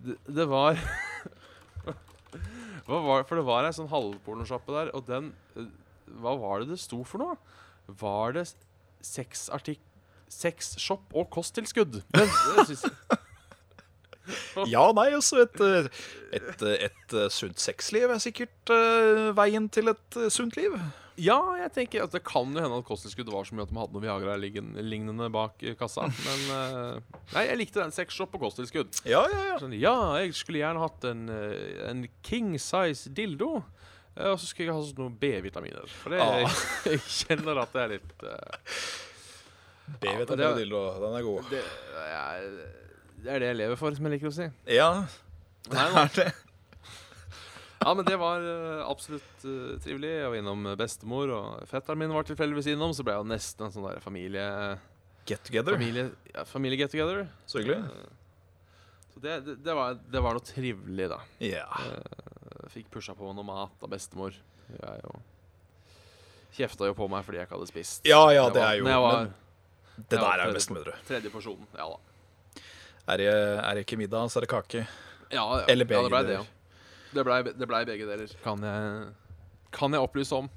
Speaker 1: det, det var Hva var For det var ei sånn halvpornosjappe der, og den eh, Hva var det det sto for noe? Var det sexartikk Sexshop og kosttilskudd? Men det syns jeg
Speaker 2: ja, nei, også et, eh, et, eh, et eh, sunt sexliv er sikkert eh, veien til et eh, sunt liv.
Speaker 1: Ja, jeg tenker at det kan jo hende at kosttilskudd var så mye at de hadde noe Viagra-lignende bak i kassa. Men eh, Nei, jeg likte den. Sexshop og kosttilskudd.
Speaker 2: Ja, ja, ja.
Speaker 1: Sånn, ja, jeg skulle gjerne hatt en, eh, en king size dildo. eh, Og så skulle jeg ha sånn noen B-vitaminer. For det,
Speaker 2: Ah.
Speaker 1: jeg kjenner at det er litt eh,
Speaker 2: B-vitamin
Speaker 1: men det er-
Speaker 2: og dildo, den er god.
Speaker 1: det, er, det er det jeg lever for, som jeg liker å si.
Speaker 2: Ja,
Speaker 1: Nei,
Speaker 2: det er det.
Speaker 1: Ja, men det var eh, absolutt eh, trivelig. Jeg var innom bestemor, og fetteren min var tilfeldigvis innom. Så ble jeg jo nesten en sånn der familie...
Speaker 2: Get together.
Speaker 1: Familie, ja, familie get together. Eh,
Speaker 2: Så hyggelig.
Speaker 1: Så det, det, det, var, det var noe trivelig, da.
Speaker 2: Ja.
Speaker 1: Jeg Fikk pusha på meg noe mat av bestemor. Jeg jo kjefta jo på meg fordi jeg ikke hadde spist.
Speaker 2: Ja, ja,
Speaker 1: Når jeg
Speaker 2: det
Speaker 1: var-
Speaker 2: er jo
Speaker 1: når jeg var
Speaker 2: Men det
Speaker 1: jeg
Speaker 2: der
Speaker 1: var
Speaker 2: er jo
Speaker 1: tredje-
Speaker 2: bestemødre.
Speaker 1: Tredje porsjonen. Ja da.
Speaker 2: Er det, er det ikke middag, så er det kake.
Speaker 1: Ja, ja.
Speaker 2: Eller begge
Speaker 1: ja, det ble det,
Speaker 2: deler.
Speaker 1: ja. Det blei det ble begge deler. Kan jeg, kan jeg opplyse om?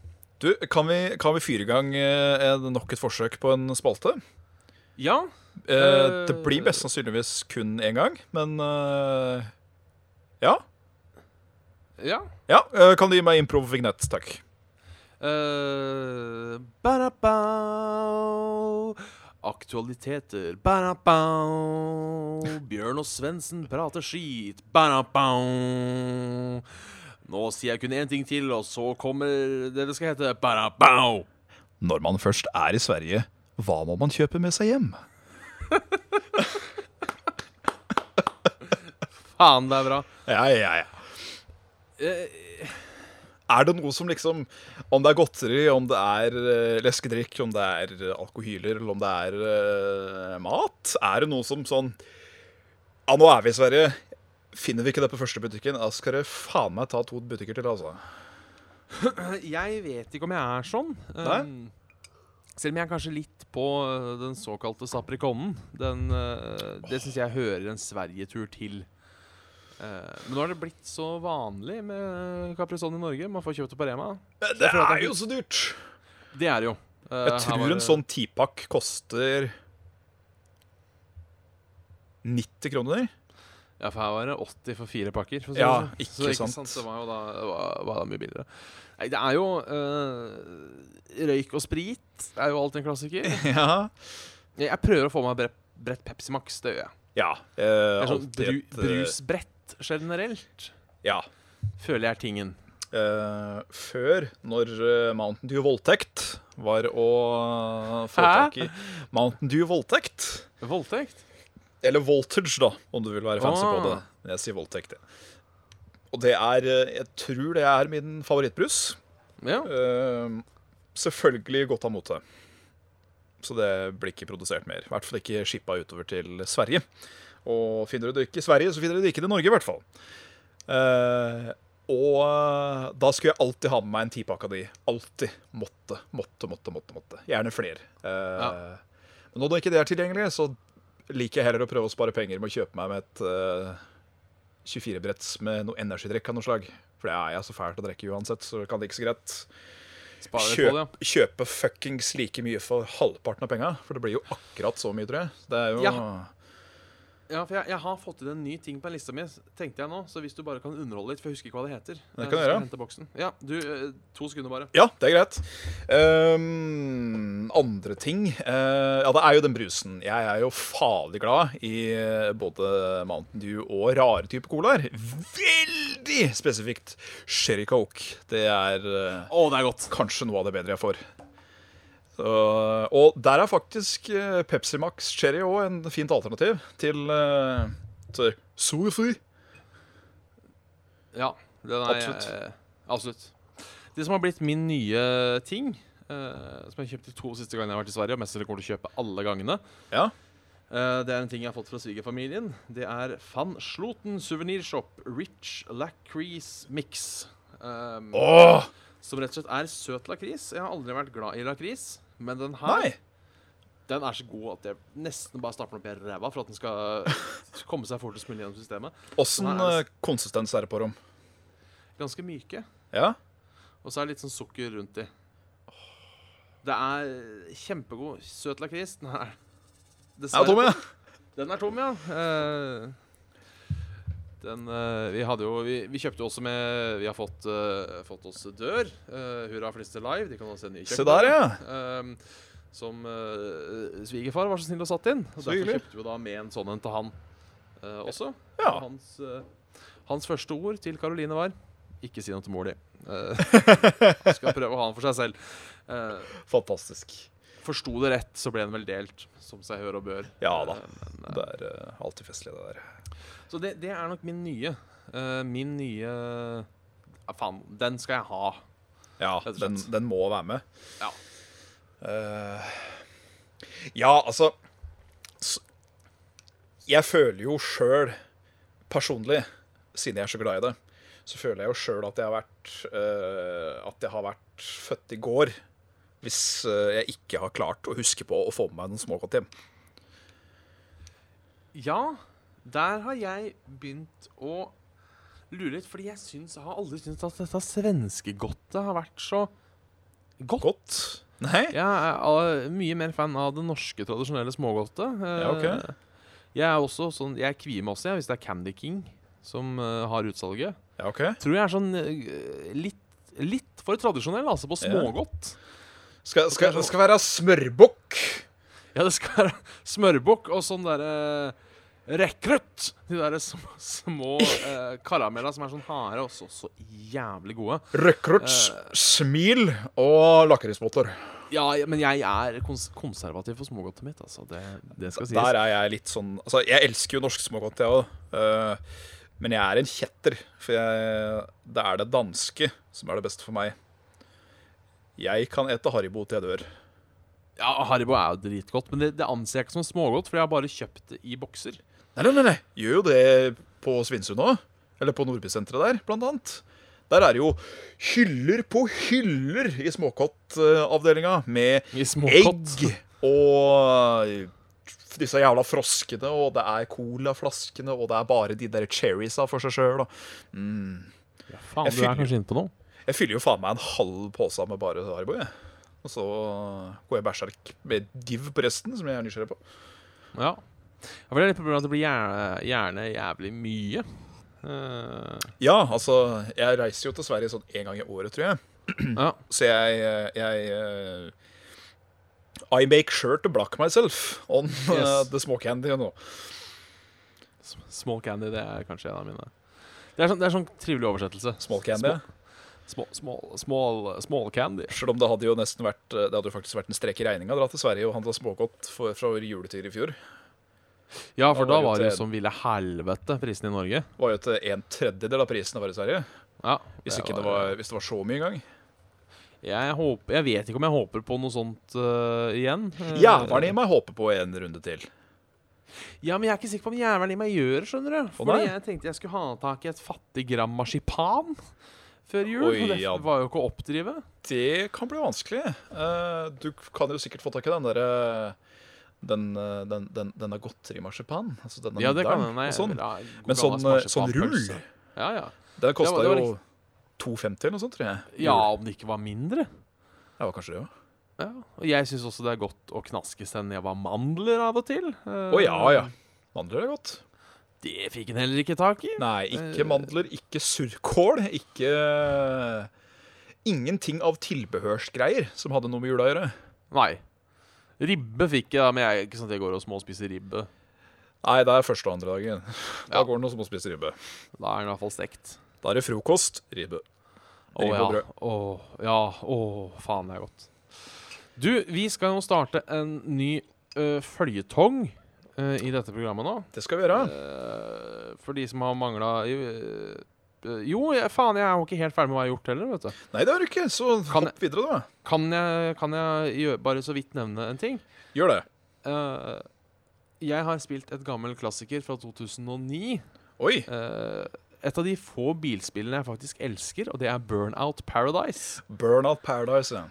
Speaker 2: Du, kan vi, kan vi fyre i gang eh, en- nok et forsøk på en spalte?
Speaker 1: Ja.
Speaker 2: Eh,
Speaker 1: Eh,
Speaker 2: det blir best sannsynligvis kun én gang, men eh, Ja.
Speaker 1: Ja.
Speaker 2: ja eh, kan du gi meg improv-vignett, takk?
Speaker 1: Eh, barabau. Aktualiteter. Barabau. Bjørn og Svendsen prater skit. Barabau. Nå sier jeg kun én ting til, og så kommer det det skal hete. Barabau.
Speaker 2: Når man først er i Sverige, hva må man kjøpe med seg hjem?
Speaker 1: Faen, det er bra.
Speaker 2: Ja, ja, ja.
Speaker 1: Eh,
Speaker 2: Er det noe som liksom Om det er godteri, om det er eh, leskedrikk, om det er eh, alkohyler, eller om det er eh, mat? Er det noe som sånn Ja, nå er vi i Sverige. Finner vi ikke det på første butikken, da skal det faen meg ta to butikker til, altså.
Speaker 1: jeg vet ikke om jeg er sånn.
Speaker 2: Nei?
Speaker 1: Um, selv om jeg er kanskje litt på øh, den såkalte saprikonnen. Den, øh, det syns jeg hører en sverigetur til. Eh, men nå har det blitt så vanlig med Caprison i Norge. Man får kjøpt det på Rema.
Speaker 2: Men det
Speaker 1: føler at
Speaker 2: er
Speaker 1: jeg-
Speaker 2: jo så dyrt!
Speaker 1: Det er det jo. Eh,
Speaker 2: Jeg
Speaker 1: her var
Speaker 2: tror en
Speaker 1: det-
Speaker 2: sånn tipakk koster 90 kroner.
Speaker 1: Ja, for her var det 80 for fire pakker. For å si
Speaker 2: Ja,
Speaker 1: det sånn.
Speaker 2: ikke
Speaker 1: så,
Speaker 2: sant.
Speaker 1: Det var jo da, det var, var da mye billigere. Nei, det er jo eh, Røyk og sprit er jo alltid en klassiker.
Speaker 2: Ja.
Speaker 1: Jeg, jeg prøver å få meg brett, brett Pepsi Max. Det gjør jeg.
Speaker 2: ja eh,
Speaker 1: Det er sånn
Speaker 2: alltid
Speaker 1: bru,
Speaker 2: et, eh,
Speaker 1: brusbrett generelt.
Speaker 2: Ja.
Speaker 1: Føler jeg er tingen.
Speaker 2: eh, før, når eh, Mountain Dew Voldtekt var å få
Speaker 1: Hæ?
Speaker 2: tak i Mountain Dew Voldtekt.
Speaker 1: Voldtekt?
Speaker 2: Eller Voltage, da, om du vil være fancy på det.
Speaker 1: Ah.
Speaker 2: Men jeg sier Voldtekt, jeg. Og det er eh, Jeg tror det er min favorittbrus.
Speaker 1: Ja.
Speaker 2: Eh, selvfølgelig godt av mote. Så det blir ikke produsert mer. I hvert fall ikke shippa utover til Sverige. Og finner du det ikke i Sverige, så finner du det ikke i Norge, i hvert fall. Eh, og eh, da skulle jeg alltid ha med meg en tipakke av de. Alltid. Måtte, måtte, måtte. måtte, måtte. Gjerne flere. Eh,
Speaker 1: Ja.
Speaker 2: Men nå når ikke det er tilgjengelig, så liker jeg heller å prøve å spare penger med å kjøpe meg med et eh, 24-bretts med noe energidrikk av noe slag. For det er jeg så fælt å drikke uansett, så det kan det ikke så greit.
Speaker 1: Sparer litt på det,
Speaker 2: Kjøp, kjøpe fuckings like mye for halvparten av penga. For det blir jo akkurat så mye, tror jeg. Det er jo
Speaker 1: Ja. ja. ja for jeg, jeg har fått inn en ny ting på lista mi, tenkte jeg nå. Så hvis du bare kan underholde litt, for jeg husker ikke hva det heter.
Speaker 2: Det kan
Speaker 1: eh, så
Speaker 2: jeg
Speaker 1: skal
Speaker 2: gjøre.
Speaker 1: hente boksen. Ja, du, eh, to sekunder bare.
Speaker 2: Ja, det er greit. Ehm, andre ting eh, Ja, det er jo den brusen. Jeg er jo farlig glad i eh, både Mountain Dew og rare typer colaer. Veldig spesifikt Sherry Coke. Det er eh,
Speaker 1: Å, det er godt.
Speaker 2: kanskje noe av det bedre jeg får. Så, og der er faktisk eh, Pepsi Max Cherry òg en fint alternativ til, eh, til Sofi.
Speaker 1: Ja, den er,
Speaker 2: Absolutt.
Speaker 1: eh, absolutt. Det som har blitt min nye ting, eh, som jeg har kjøpt de to siste gangene jeg har vært i Sverige, og mest sannsynlig kommer til å kjøpe alle gangene,
Speaker 2: Ja.
Speaker 1: Eh, Det er en ting jeg har fått fra svigerfamilien. Det er Van Sloten suvenirshop Rich Lacris Mix. Um,
Speaker 2: Åh,
Speaker 1: Som rett og slett er søt lakris. Jeg har aldri vært glad i lakris, men den her
Speaker 2: nei!
Speaker 1: den er så god at jeg nesten bare stapper den opp i ræva for at den skal komme seg fortest mulig gjennom systemet.
Speaker 2: Åssen
Speaker 1: Nei,
Speaker 2: eh, konsistens er det på dem?
Speaker 1: Ganske myke,
Speaker 2: Ja?
Speaker 1: og så er det litt sånn sukker rundt i. Det er kjempegod søt lakris. Den er
Speaker 2: Ja, Tommy. ja.
Speaker 1: Den er tom, ja. Eh, den eh, Vi hadde jo Vi, vi kjøpte jo også med Vi har fått, eh, fått oss dør. eh, Hurra flister live. De kan også sende i
Speaker 2: Se der, ja.
Speaker 1: Ehm, som eh, svigerfar var så snill og satt inn. Og
Speaker 2: Så
Speaker 1: derfor
Speaker 2: hyggelig.
Speaker 1: kjøpte vi da med en sånn en til han eh, også.
Speaker 2: Ja.
Speaker 1: Og Hans, eh, hans første ord til Karoline var 'ikke si noe til mor di'. Eh, han skal prøve å ha den for seg selv. Eh,
Speaker 2: Fantastisk.
Speaker 1: Forsto det rett, så ble den vel delt, som seg hør og bør.
Speaker 2: Ja da.
Speaker 1: Eh, men, eh,
Speaker 2: Det er eh, alltid festlig, det der.
Speaker 1: Så det, det er nok min nye. eh, min nye ja, Faen, den skal jeg ha.
Speaker 2: Ja,
Speaker 1: Rett og
Speaker 2: den,
Speaker 1: slett.
Speaker 2: den må være med.
Speaker 1: Ja.
Speaker 2: Eh, ja, altså s- Jeg føler jo sjøl, personlig, siden jeg er så glad i det, så føler jeg jo sjøl at jeg har vært eh, At jeg har vært født i går. Hvis eh, jeg ikke har klart å huske på å få med meg noen smågodt hjem.
Speaker 1: Ja, Der har jeg begynt å lure litt, fordi jeg, syns, jeg har aldri syntes at dette svenskegodtet har vært så godt.
Speaker 2: Godt. Nei?
Speaker 1: Jeg er eh, mye mer fan av det norske tradisjonelle smågodtet. Eh,
Speaker 2: Ja, ok.
Speaker 1: Jeg er også sånn, jeg kvier meg også jeg, hvis det er Candy King som eh, har utsalget.
Speaker 2: Ja, ok.
Speaker 1: Tror jeg er sånn eh, litt, litt for tradisjonell, altså, på
Speaker 2: Ja.
Speaker 1: smågodt.
Speaker 2: Skal, skal, det skal være smørbukk.
Speaker 1: Ja, det skal være smørbukk og sånn derre Rekrutt! De derre små, små eh, karamella som er sånn harde og så, så jævlig gode.
Speaker 2: Røkruts, smil og lakrismotor.
Speaker 1: Ja, ja, men jeg er kons konservativ for smågodtet mitt, altså. Det, det skal sies.
Speaker 2: Der er jeg litt sånn Altså, jeg elsker jo norsk smågodt, jeg òg. men jeg er en kjetter, for jeg, det er det danske som er det beste for meg. Jeg kan ete Haribo til jeg dør.
Speaker 1: Ja, Haribo er jo dritgodt, men det, det anser jeg ikke som smågodt, for jeg har bare kjøpt det i bokser.
Speaker 2: Nei, nei, nei, nei. Gjør jo det på Svinesund òg. Eller på Nordbysenteret der, blant annet. Der er det jo hyller på hyller i småkottavdelinga med
Speaker 1: I småkott.
Speaker 2: egg og disse jævla froskene, og det er colaflaskene, og det er bare de der cherriesa for seg sjøl.
Speaker 1: Ja,
Speaker 2: Jeg
Speaker 1: faen, du er
Speaker 2: fyller-
Speaker 1: kanskje inne på noe?
Speaker 2: Jeg fyller jo faen meg en halv pose med bare Haribo, jeg. Og så går jeg berserk med div på resten, som jeg er nysgjerrig på.
Speaker 1: Ja. Ja, For det er litt problemet at det blir gjerne, gjerne jævlig mye. Eh,
Speaker 2: Ja, altså, jeg reiser jo til Sverige sånn én gang i året, tror jeg.
Speaker 1: ja.
Speaker 2: Så jeg, jeg eh, I make sure to block myself on eh,
Speaker 1: Yes.
Speaker 2: the small candy nå.
Speaker 1: S- Small Candy, det er kanskje en av mine Det er sånn, det er sånn trivelig oversettelse.
Speaker 2: Small candy.
Speaker 1: Small, small, small, small Candy.
Speaker 2: Selv om det hadde jo nesten vært eh, Det hadde jo faktisk vært en strek i regninga å dra til Sverige og handle smågodt for, fra juletider i fjor.
Speaker 1: Ja, for
Speaker 2: Da
Speaker 1: da
Speaker 2: var det
Speaker 1: var det
Speaker 2: tre-
Speaker 1: jo som ville helvete prisen i Norge.
Speaker 2: Var jo til en tredjedel av prisen det var i Sverige.
Speaker 1: Ja,
Speaker 2: Hvis, ikke det var, hvis det var så mye engang.
Speaker 1: jeg, håper, jeg vet ikke om jeg håper på noe sånt øh, igjen. Eh,
Speaker 2: Jævelen i meg håper på en runde til.
Speaker 1: Ja, men jeg er ikke sikker på om jævelen i meg gjør det, skjønner du. Fordi
Speaker 2: nei?
Speaker 1: jeg tenkte jeg skulle ha tak i et fattig gram marsipan før jul.
Speaker 2: Oi,
Speaker 1: og det
Speaker 2: ja.
Speaker 1: var jo ikke å oppdrive.
Speaker 2: Det kan bli vanskelig. Eh, Du kan jo sikkert få tak i den derre den, eh, den, den, denne godterimarsipan. Altså denne
Speaker 1: Ja, det kan
Speaker 2: middelen
Speaker 1: hende. Nei,
Speaker 2: og sånn.
Speaker 1: ja, god
Speaker 2: Men sånn,
Speaker 1: gammel
Speaker 2: eh, sånn rull,
Speaker 1: marsipanpølse. Ja, ja.
Speaker 2: den kosta
Speaker 1: det var
Speaker 2: jo 2,50 eller noe sånt, tror jeg.
Speaker 1: ja, om det ikke var mindre.
Speaker 2: Det var kanskje det, ja.
Speaker 1: Ja, og jeg syns også det er godt å knaske seg ned av mandler av og til. Eh,
Speaker 2: Å ja, ja. Mandler er godt.
Speaker 1: Det fikk en heller ikke tak i.
Speaker 2: Nei,
Speaker 1: Eh,
Speaker 2: ikke mandler, ikke surkål, ikke eh, Ingenting av tilbehørsgreier som hadde noe med jula å gjøre.
Speaker 1: Nei. Ribbe fikk jeg, da, men jeg er ikke sånn at jeg går og småspiser ribbe.
Speaker 2: Nei, det er første og andre dagen. Da
Speaker 1: Ja.
Speaker 2: går det noe som å spise ribbe.
Speaker 1: Da er den i hvert fall stekt.
Speaker 2: Da er det frokost, ribbe.
Speaker 1: Å
Speaker 2: Ribbe og
Speaker 1: ja.
Speaker 2: brød.
Speaker 1: Åh, ja. Åh, faen, det er godt. Du, vi skal nå starte en ny uh, føljetong eh, i dette programmet nå.
Speaker 2: Det skal vi gjøre.
Speaker 1: Eh, for de som har mangla eh, Jo, jeg, faen, jeg er jo ikke helt ferdig med hva jeg har gjort heller, vet du.
Speaker 2: Nei, det har du ikke, så
Speaker 1: Kan jeg-
Speaker 2: hopp videre, da.
Speaker 1: Kan jeg, kan jeg gjø- bare så vidt nevne en ting?
Speaker 2: Gjør det.
Speaker 1: Eh, jeg har spilt et gammel klassiker fra 2009.
Speaker 2: Oi.
Speaker 1: Eh, et av de få bilspillene jeg faktisk elsker, og det er Burnout Paradise.
Speaker 2: Burnout Paradise, ja.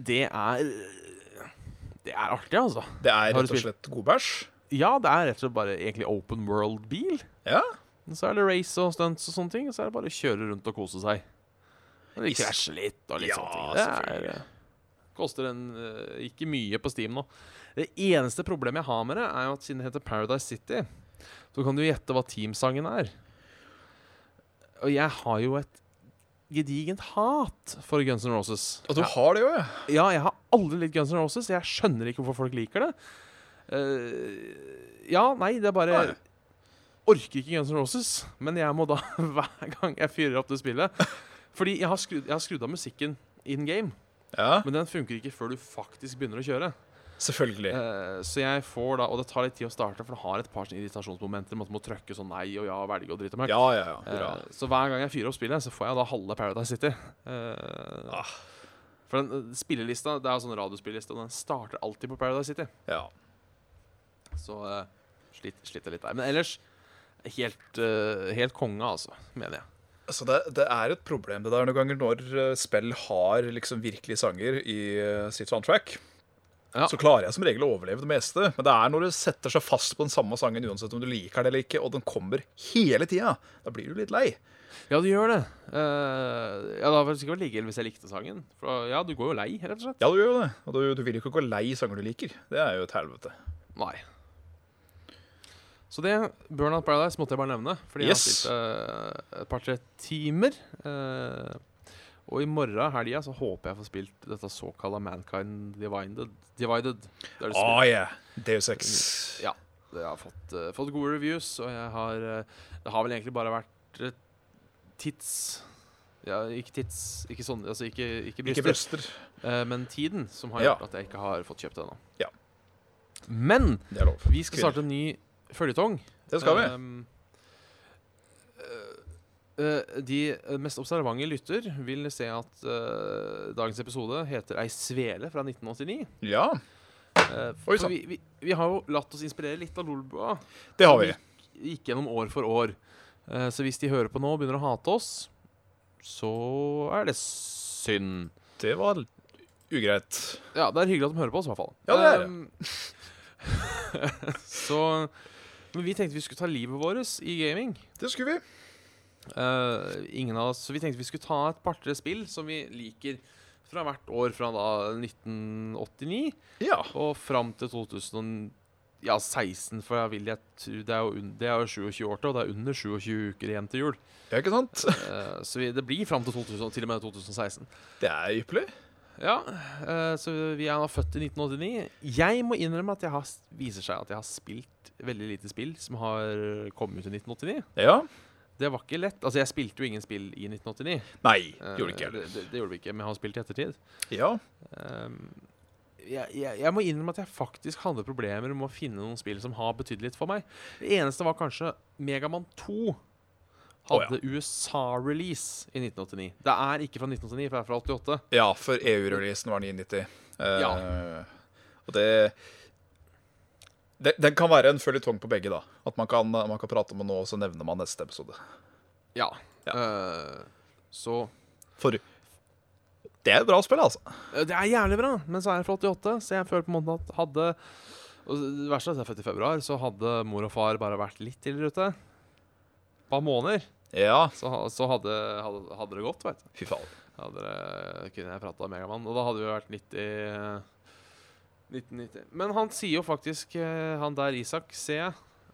Speaker 1: Det er Det er artig, altså.
Speaker 2: Det er
Speaker 1: Har du
Speaker 2: rett og
Speaker 1: spilt-
Speaker 2: slett god bæsj.
Speaker 1: Ja, det er rett og slett bare egentlig open world-bil.
Speaker 2: Ja.
Speaker 1: Så er det race og stunts og sånne ting, og så er det bare å kjøre rundt og kose seg. Eller
Speaker 2: Hvis-
Speaker 1: krasje litt og litt
Speaker 2: Ja,
Speaker 1: sånne ting. Det
Speaker 2: selvfølgelig.
Speaker 1: er, koster en eh, ikke mye på Steam nå. Det eneste problemet jeg har med det, er jo at siden det heter Paradise City, så kan du gjette hva teamsangen er. Og jeg har jo et gedigent hat for Guns N' Roses.
Speaker 2: Og du har det jo, ja.
Speaker 1: Ja, jeg har aldri likt Guns N' Roses. Jeg skjønner ikke hvorfor folk liker det. Eh, ja, nei, det er bare
Speaker 2: Nei.
Speaker 1: Orker ikke Guns N' Roses. Men jeg må da, hver gang jeg fyrer opp det spillet Fordi jeg har skrudd, jeg har skrudd av musikken in game,
Speaker 2: Ja,
Speaker 1: men den funker ikke før du faktisk begynner å kjøre.
Speaker 2: selvfølgelig.
Speaker 1: Eh, så jeg får da Og det tar litt tid å starte, for det har et par sånne irritasjonsmomenter med at du må trykke sånn nei og ja og velge og drite meg.
Speaker 2: Ja, ja, ja. Bra.
Speaker 1: Eh, Så hver gang jeg fyrer opp spillet, så får jeg da halve Paradise City. Eh,
Speaker 2: Ah.
Speaker 1: For den eh, spillelista, det er jo sånn radiospilleliste, og den starter alltid på Paradise City.
Speaker 2: Ja.
Speaker 1: Så eh, slit, sliter litt der. Men ellers helt, eh, helt konge, altså, mener jeg.
Speaker 2: Altså, det, det er et problem det der noen ganger når eh, spill har liksom virkelige sanger i eh, sitt soundtrack.
Speaker 1: Ja.
Speaker 2: så klarer jeg som regel å overleve det meste. Men det er når det setter seg fast på den samme sangen, uansett om du liker det eller ikke, og den kommer hele tida, da blir du litt lei.
Speaker 1: Ja, du gjør det. Eh, ja, Det hadde faktisk ikke vært like ille hvis jeg likte sangen. For ja, du går jo lei, rett og slett.
Speaker 2: Ja, du gjør jo det. Og du, du vil jo ikke gå lei sanger du liker. Det er jo et helvete.
Speaker 1: Nei. Så det, Burnout Paradise, måtte jeg bare nevne. Fordi jeg har
Speaker 2: Yes.
Speaker 1: spilt eh, et par-tre timer. eh, og i morgen, helga, så håper jeg får spilt dette såkalla Mankind Divided. Divided. Det er det som-
Speaker 2: Ah, yeah. Deus Ex.
Speaker 1: Ja. Det har fått, eh, fått gode reviews, og jeg har eh, Det har vel egentlig bare vært eh, tids ja, Ikke tids, ikke sånn Altså ikke, ikke
Speaker 2: Ikke
Speaker 1: bryster.
Speaker 2: bryster.
Speaker 1: Eh, men tiden som har
Speaker 2: Ja.
Speaker 1: gjort at jeg ikke har fått kjøpt det ennå.
Speaker 2: Ja.
Speaker 1: Men
Speaker 2: Det er lov.
Speaker 1: vi skal
Speaker 2: Kvinner.
Speaker 1: starte en ny føljetong.
Speaker 2: Det skal vi.
Speaker 1: Ehm, eh, eh, de mest observante lytter vil se at eh, dagens episode heter Ei svele fra 1989.
Speaker 2: Ja,
Speaker 1: Eh, for
Speaker 2: Oi, sann.
Speaker 1: vi, vi, vi har jo latt oss inspirere litt av Lolbua.
Speaker 2: det har vi.
Speaker 1: Gikk gjennom år for år. Eh, så hvis de hører på nå og begynner å hate oss, så er det synd.
Speaker 2: Det var ugreit.
Speaker 1: Ja, det er hyggelig at de hører på oss, i hvert fall.
Speaker 2: Ja, det er det.
Speaker 1: Ehm, så Men vi tenkte vi skulle ta livet vårt i gaming.
Speaker 2: Det skulle vi.
Speaker 1: Eh, ingen av oss, så vi tenkte vi skulle ta et par-tre spill som vi liker fra hvert år fra da 1989
Speaker 2: Ja.
Speaker 1: og fram til 2016, ja, 16, for jeg vil jeg tro det er jo, un- det er jo 27 år til, og det er under 27 uker igjen til jul.
Speaker 2: ja, ikke sant?
Speaker 1: Eh, så vi, det blir fram til 2000, til og med 2016.
Speaker 2: Det er ypperlig.
Speaker 1: Ja, eh, så vi er da født i 1989. Jeg må innrømme at jeg har, viser seg at jeg har spilt veldig lite spill som har kommet ut i 1989.
Speaker 2: Ja.
Speaker 1: Det var ikke lett. Altså, jeg spilte jo ingen spill i 1989.
Speaker 2: Nei,
Speaker 1: Eh,
Speaker 2: gjorde ikke jeg.
Speaker 1: det, det, det gjorde vi ikke, men jeg har spilt i ettertid.
Speaker 2: Ja.
Speaker 1: Um, jeg, jeg, jeg må innrømme at jeg faktisk hadde problemer med å finne noen spill som har betydd litt for meg. Det eneste var kanskje Megaman 2.
Speaker 2: Å, ja.
Speaker 1: Hadde USA-release i 1989. Det er ikke fra 1989, for det er fra 88.
Speaker 2: Ja, for EU-releasen var 990. Eh,
Speaker 1: Ja.
Speaker 2: Og det, det Den kan være en føljetong på begge, da. At man kan, man kan prate om det nå, og så nevner man neste episode.
Speaker 1: Ja.
Speaker 2: Ja.
Speaker 1: Eh, så
Speaker 2: For det er et bra spill, altså.
Speaker 1: Eh, Det er jævlig bra, men så er jeg fra 88, så jeg føler på en måte at hadde og Det verste er at jeg er født i februar, så hadde mor og far bare vært litt tidligere ute, et par måneder,
Speaker 2: Ja,
Speaker 1: så, ha- så hadde, hadde, hadde det gått, veit du.
Speaker 2: fy faen.
Speaker 1: Hadde det, kunne jeg prata om Megamann, og da hadde vi vært 90 eh, 1990. Men han sier jo faktisk, eh, han der Isak, ser jeg,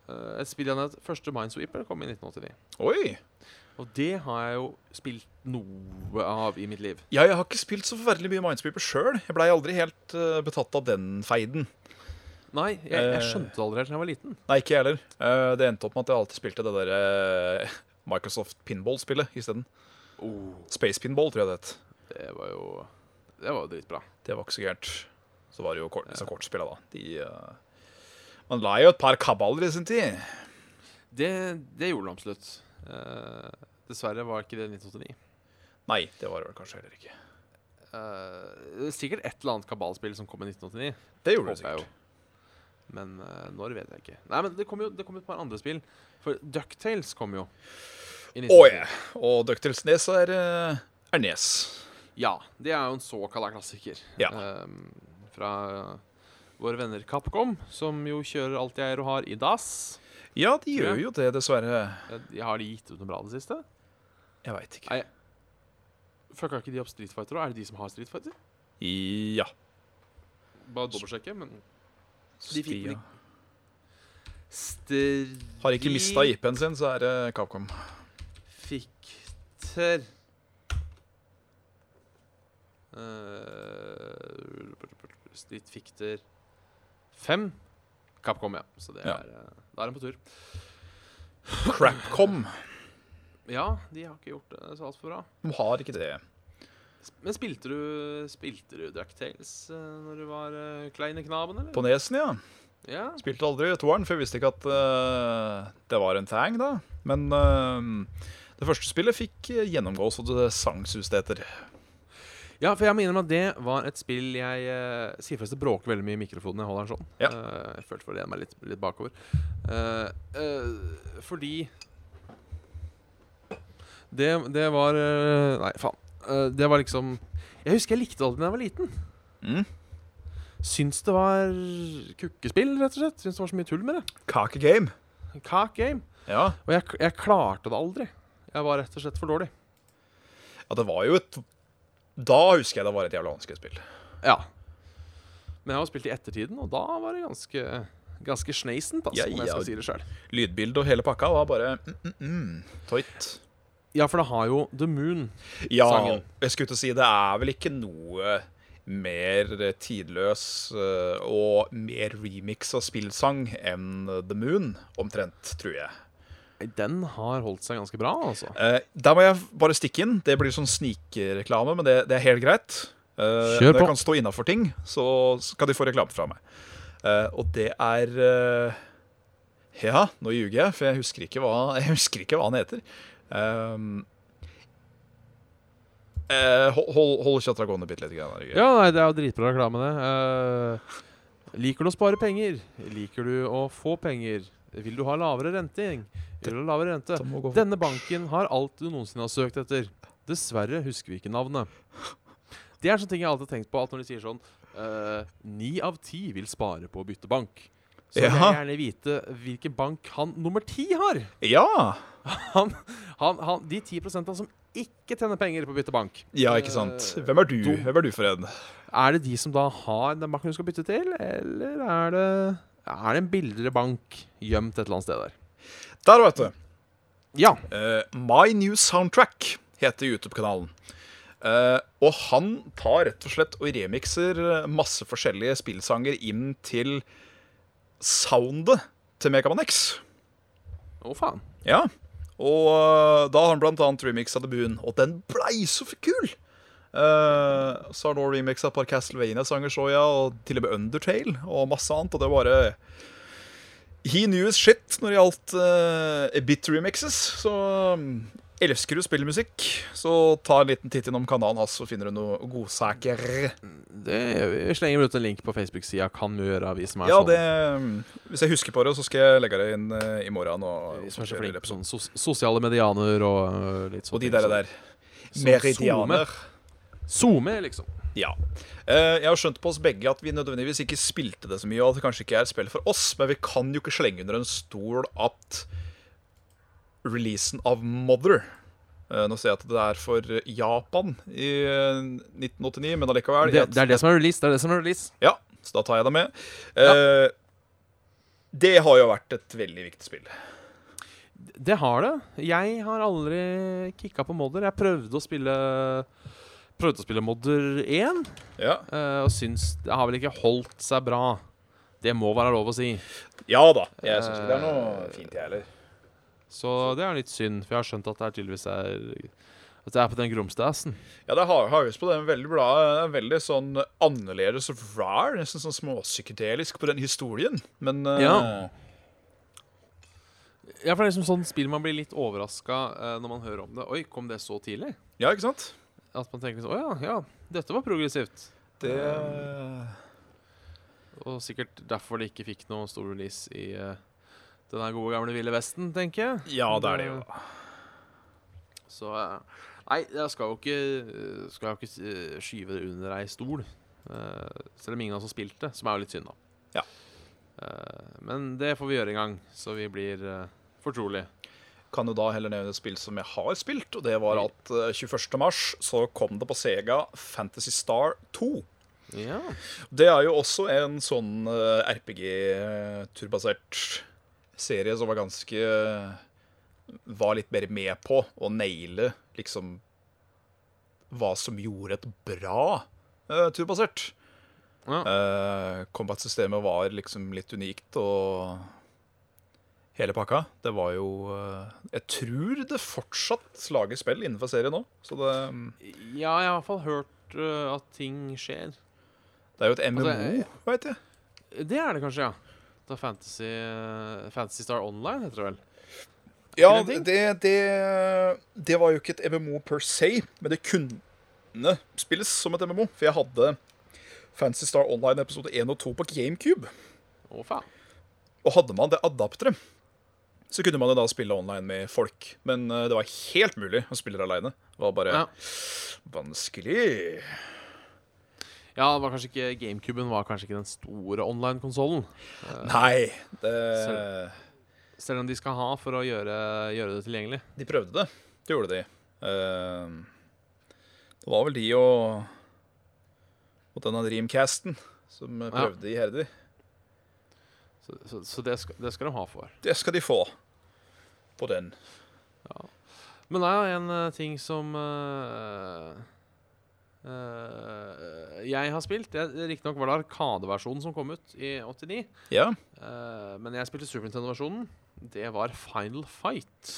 Speaker 1: eh, et spill han het Første Minesweeper kom i 1989.
Speaker 2: Oi!
Speaker 1: Og det har jeg jo spilt noe av i mitt liv.
Speaker 2: Ja, jeg har ikke spilt så forferdelig mye Minesweeper sjøl. Jeg blei aldri helt eh, betatt av den feiden.
Speaker 1: Nei, jeg, jeg
Speaker 2: Eh.
Speaker 1: skjønte det aldri helt da jeg var liten.
Speaker 2: Nei, ikke jeg heller. Eh, det endte opp med at jeg alltid spilte det der eh, Microsoft pinball-spillet isteden.
Speaker 1: Oh.
Speaker 2: Space Pinball, tror jeg det het.
Speaker 1: Det var jo Det var jo dritbra.
Speaker 2: Det var ikke så gærent. Så var det jo kort, disse kortspillene, da. De, eh, man la jo et par kaballer i sin tid.
Speaker 1: Det, det gjorde det absolutt. Eh, dessverre var ikke det 1989.
Speaker 2: Nei, det var det vel kanskje heller ikke.
Speaker 1: Eh, sikkert et eller annet kabalspill som kom i 1989.
Speaker 2: Det gjorde det
Speaker 1: håper jeg
Speaker 2: sikkert.
Speaker 1: jo. Men eh, når vet jeg ikke. Nei, men det kom jo det kom et par andre spill. For Ducktales kom jo. i
Speaker 2: Å
Speaker 1: 1989.
Speaker 2: ja. Og Ducktales Nes er, eh, er Nes.
Speaker 1: Ja. Det er jo en såkalla klassiker.
Speaker 2: Ja.
Speaker 1: Eh, fra våre venner Capcom, som jo kjører alt jeg eier og har i dass.
Speaker 2: Ja, de
Speaker 1: Tror jeg.
Speaker 2: gjør jo det, dessverre.
Speaker 1: Eh, de- har de gitt ut noe bra i det siste?
Speaker 2: Jeg veit ikke.
Speaker 1: Nei. Fucka ikke de opp Street Fighter òg? Er det de som har Street Fighter?
Speaker 2: Ja.
Speaker 1: Bare dobbeltsjekke, men De fikk vel
Speaker 2: Stia.
Speaker 1: ikke- Stri...
Speaker 2: Har ikke mista IP-en sin, så er det Capcom.
Speaker 1: Fikter Eh, Street Fikter 5. Capcom, ja. Så det
Speaker 2: Ja.
Speaker 1: er eh, Da er de på tur.
Speaker 2: Crapcom.
Speaker 1: Ja, de har ikke gjort det så altfor bra.
Speaker 2: De har ikke det.
Speaker 1: Sp- Men spilte du, spilte du Ducktales uh, når du var eh, kleine knaben, eller?
Speaker 2: På nesen, ja.
Speaker 1: Ja.
Speaker 2: Spilte aldri toeren, for jeg visste ikke at eh, det var en tang, da. Men eh, det første spillet fikk eh, gjennomgås, og det sang sust etter.
Speaker 1: Ja, for jeg må innrømme at det var et spill jeg uh, Sier forresten bråker veldig mye i mikrofonen når jeg holder den sånn.
Speaker 2: Ja.
Speaker 1: Eh, jeg følte for å lene meg litt, litt bakover. Eh, eh, fordi det, det var eh, Nei, faen. Eh, det var liksom Jeg husker jeg likte det alltid da jeg var liten. Syns det var kukkespill, rett og slett. Syns det var så mye tull med det.
Speaker 2: Kake game.
Speaker 1: Cock game.
Speaker 2: Ja.
Speaker 1: Og jeg, jeg klarte det aldri. Jeg var rett og slett for dårlig.
Speaker 2: ja, det var jo et Da husker jeg det var et jævla vanskelig spill.
Speaker 1: Ja. Men jeg har spilt i ettertiden, og da var det ganske Ganske sneisent, altså,
Speaker 2: Ja,
Speaker 1: om jeg
Speaker 2: ja.
Speaker 1: skal si det sjøl.
Speaker 2: Lydbilde og hele pakka var bare mm, mm, mm, tøyt.
Speaker 1: Ja, for det har jo The Moon.
Speaker 2: Ja,
Speaker 1: sangen.
Speaker 2: jeg skulle til å si det er vel ikke noe mer tidløs eh, og mer remix av spillsang enn The Moon, omtrent, tror jeg.
Speaker 1: Den har holdt seg ganske bra, altså.
Speaker 2: Eh, der må jeg bare stikke inn. Det blir sånn snikreklame, men det, det er helt greit. Eh,
Speaker 1: Kjør
Speaker 2: Når
Speaker 1: på.
Speaker 2: jeg kan stå innafor ting, så skal de få reklame fra meg. Eh, og det er eh, Ja, nå ljuger jeg, for jeg husker ikke hva, jeg husker ikke hva han heter. Um, eh, hold, hold, hold kjøttet gående bitte litt. Grann, her, Jørgen.
Speaker 1: Ja, nei, det er jo dritbra reklame, det. Eh, liker du å spare penger? Liker du å få penger? Vil du ha lavere renting? Vil du ha lavere rente?
Speaker 2: Det må gå fort.
Speaker 1: Denne banken har alt du noensinne har søkt etter. Dessverre husker vi ikke navnet. Det er sånne ting jeg alltid har tenkt på, at når de sier sånn eh, Ni av ti vil spare på å bytte bank. Så vil jeg
Speaker 2: Ja.
Speaker 1: gjerne vite hvilken bank han nummer ti har.
Speaker 2: ja!
Speaker 1: Han, han, han, de 10 som ikke tjener penger på å bytte bank.
Speaker 2: Ja, ikke sant.
Speaker 1: Eh,
Speaker 2: Hvem er du?
Speaker 1: dum.
Speaker 2: Hvem er du for en?
Speaker 1: Er det de som da har den banken du skal bytte til, eller er det, er det en billigere bank gjemt et eller annet sted der?
Speaker 2: Der, vet du.
Speaker 1: Ja.
Speaker 2: Eh, My New Soundtrack heter YouTube-kanalen. Eh, og han tar rett og slett og remixer eh, masse forskjellige spillsanger inn til soundet til Megaman X.
Speaker 1: Å, faen.
Speaker 2: Ja. Og eh, da har han blant annet remixa The Boon, og den blei så for kul! Eh, så har han også remixa et par Castlevania-sanger, så jeg, og til og med Undertale og masse annet, og det er bare He knew his shit når det gjaldt eh, bit-remixes, så mm, Elsker du spillmusikk, så ta en liten titt innom kanalen hans, så finner du noe godsaker.
Speaker 1: Det, vi slenger ut en link på Facebook-sida. Kan vi gjøre, vi som er
Speaker 2: Ja,
Speaker 1: sånn.
Speaker 2: det eh, Hvis jeg husker på det, så skal jeg legge det inn eh, i morgen. Og,
Speaker 1: Vi som er så
Speaker 2: kjøre
Speaker 1: flinke på
Speaker 2: episoden.
Speaker 1: sånn sos sosiale medianer og øh, litt sånne
Speaker 2: og de
Speaker 1: ting
Speaker 2: der,
Speaker 1: som-
Speaker 2: der.
Speaker 1: som
Speaker 2: Meridianer.
Speaker 1: SoMe, liksom.
Speaker 2: Ja. Eh, Jeg har skjønt på oss begge at vi nødvendigvis ikke spilte det så mye, og at det kanskje ikke er et spill for oss, men vi kan jo ikke slenge under en stol at releasen av Mother eh, Nå ser jeg at det er for Japan i eh, 1989, men allikevel
Speaker 1: Det, det er det som er release. Det er det som er release.
Speaker 2: Ja, så da tar jeg det med. Eh, Det har jo vært et veldig viktig spill.
Speaker 1: Det har det. Jeg har aldri kicka på modder. Jeg prøvde å spille Prøvde å spille modder 1,
Speaker 2: Ja,
Speaker 1: eh, og syns det har vel ikke holdt seg bra. Det må være lov å si.
Speaker 2: ja da. Jeg syns ikke det er noe fint, jeg heller.
Speaker 1: Så det er litt synd, for jeg har skjønt at det er tydeligvis er At det er på den grumsedassen.
Speaker 2: Ja, det har Harvest på. Det er en veldig bra, en veldig sånn annerledes og rar, nesten sånn småpsykedelisk på den historien. Men eh,
Speaker 1: Ja. Ja, for det er liksom sånn spill man blir litt overraska når man hører om det. Oi, kom det så tidlig?
Speaker 2: ja, ikke sant?
Speaker 1: At man tenker sånn Å ja, ja, dette var progressivt.
Speaker 2: Det
Speaker 1: Og sikkert derfor de ikke fikk noen stor release i eh, denne gode gamle Ville Vesten, tenker jeg.
Speaker 2: Ja, det er det jo.
Speaker 1: Så eh, Nei, jeg skal jo ikke, skal jo ikke eh, skyve det under ei stol. Eh, selv om ingen av oss har spilt det, som er jo litt synd, da.
Speaker 2: Ja.
Speaker 1: Eh, men det får vi gjøre en gang, så vi blir eh, fortrolige.
Speaker 2: Kan jo da heller nevne et spill som jeg har spilt, og det var at eh, 21. mars så kom det på Sega Fantasy Star 2.
Speaker 1: Ja.
Speaker 2: Det er jo også en sånn RPG-turbasert serie som var ganske eh, Var litt mer med på å naile liksom hva som gjorde et bra eh, turbasert.
Speaker 1: Ja.
Speaker 2: Eh, Combat-systemet var liksom litt unikt og hele pakka. Det var jo eh, Jeg tror det fortsatt lager spill innenfor serien nå, så det,
Speaker 1: ja, jeg har i hvert fall hørt eh, at ting skjer.
Speaker 2: det er jo et MMO,
Speaker 1: jeg-
Speaker 2: veit jeg.
Speaker 1: Det er det kanskje, ja. Det er Fantasy, eh, Fantasy Star Online, heter det vel.
Speaker 2: Ja,
Speaker 1: Eller ting?
Speaker 2: det, det, det var jo ikke et MMO per se, men det kunne spilles som et MMO. For jeg hadde Fancy Star Online episode 1 og 2 på GameCube.
Speaker 1: Å, faen.
Speaker 2: Og hadde man det adapteret, så kunne man jo da spille online med folk. Men eh, det var helt mulig å spille det aleine. Det var bare
Speaker 1: Ja.
Speaker 2: vanskelig.
Speaker 1: Ja, det var kanskje ikke GameCuben var kanskje ikke den store online-konsollen.
Speaker 2: Nei, det,
Speaker 1: Selv om de skal ha for å gjøre, gjøre det tilgjengelig.
Speaker 2: de prøvde det. Det gjorde de. Eh, det var vel de og, og denne Dreamcasten som prøvde iherdig.
Speaker 1: Så, så, så det, skal, det skal de ha for.
Speaker 2: Det skal de få på den.
Speaker 1: Men det er en eh, ting som eh, eh, jeg har spilt. Riktignok var det Arkadeversjonen som kom ut i 89.
Speaker 2: Ja.
Speaker 1: eh, men jeg spilte Super Nintendo-versjonen. Det var Final Fight.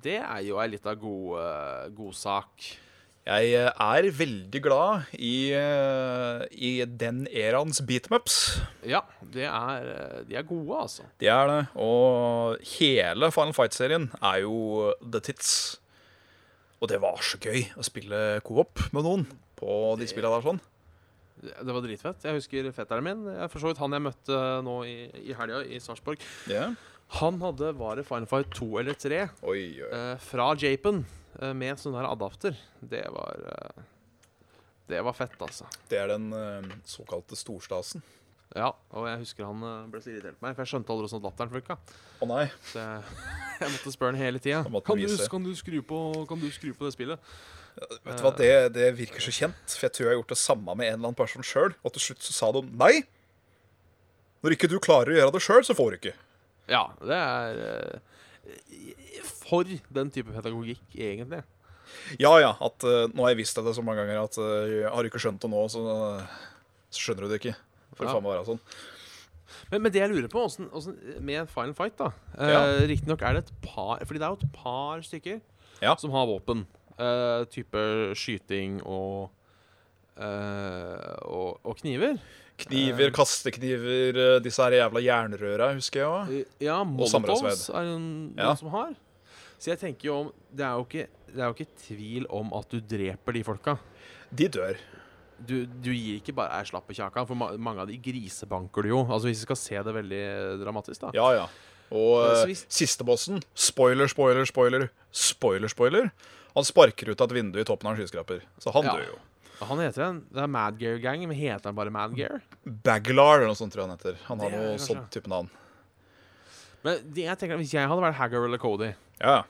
Speaker 1: Det er jo ei lita god, eh, god sak.
Speaker 2: Jeg eh, er veldig glad i, eh, i den eraens beatmaps.
Speaker 1: Ja, det er, eh, de er gode, altså.
Speaker 2: De er det. Og hele Final Fight-serien er jo the tits. Og det var så gøy å spille co-op med noen på de spilla der sånn.
Speaker 1: Det det var dritfett. Jeg husker fetteren min. Jeg for så vidt han jeg møtte nå i, i helga i Sarpsborg. Han hadde var det Final Fight 2 eller 3
Speaker 2: Oi, oi.
Speaker 1: eh, fra Japen eh, med sånn her adapter. Det var eh, Det var fett, altså.
Speaker 2: Det er den eh, såkalte storstasen.
Speaker 1: Ja, og jeg husker han eh, ble så irritert på meg, for jeg skjønte aldri hvordan latteren funka.
Speaker 2: Å nei.
Speaker 1: Så jeg, jeg måtte spørre han hele tida.
Speaker 2: Da måtte
Speaker 1: Kan,
Speaker 2: du
Speaker 1: du-
Speaker 2: vise.
Speaker 1: kan du skru på Kan du skru på det spillet?
Speaker 2: Vet du hva, det, det virker så kjent, for jeg tror jeg har gjort det samme med en eller annen person sjøl. Og til slutt så sa de nei. Når ikke du klarer å gjøre det sjøl, så får du ikke.
Speaker 1: Ja, det er eh, For den type pedagogikk, egentlig.
Speaker 2: Ja ja, at eh, nå har jeg visst det så mange ganger at eh, har du ikke skjønt det nå, så, eh, så skjønner du det ikke. For
Speaker 1: Ja.
Speaker 2: faen meg være sånn.
Speaker 1: Men, men det jeg lurer på, hvordan, hvordan, med en Final Fight, da eh,
Speaker 2: Ja.
Speaker 1: Riktignok er det et par Fordi det er jo et par stykker
Speaker 2: Ja.
Speaker 1: som har våpen. Eh, type skyting og, eh, og og kniver.
Speaker 2: Kniver, kastekniver, eh, disse her jævla jernrøra, husker jeg òg.
Speaker 1: Eh, Ja, Molotovs
Speaker 2: samlesverd.
Speaker 1: er det noen
Speaker 2: Ja.
Speaker 1: som har. Så jeg tenker jo om Det er jo ikke, det er jo ikke tvil om at du dreper de folka.
Speaker 2: De dør.
Speaker 1: Du, du gir ikke bare ei slapp i kjakan, for ma mange av de grisebanker du jo. Altså Hvis vi skal se det veldig dramatisk, da.
Speaker 2: Ja ja. Og
Speaker 1: Ja, så
Speaker 2: eh,
Speaker 1: hvis-
Speaker 2: siste bossen, spoiler, spoiler, spoiler, spoiler, spoiler, han sparker ut av et vindu i toppen av en skyskraper. Så han
Speaker 1: Ja.
Speaker 2: dør jo.
Speaker 1: Han heter en, Det er Mad Gear Gang, men heter han bare Mad Gear?
Speaker 2: Baglar eller noe sånt tror jeg han heter. Han har
Speaker 1: Det er
Speaker 2: noe
Speaker 1: det kanskje.
Speaker 2: sånt type navn.
Speaker 1: Men det jeg tenker, at hvis jeg hadde vært Hagger eller Cody,
Speaker 2: Ja.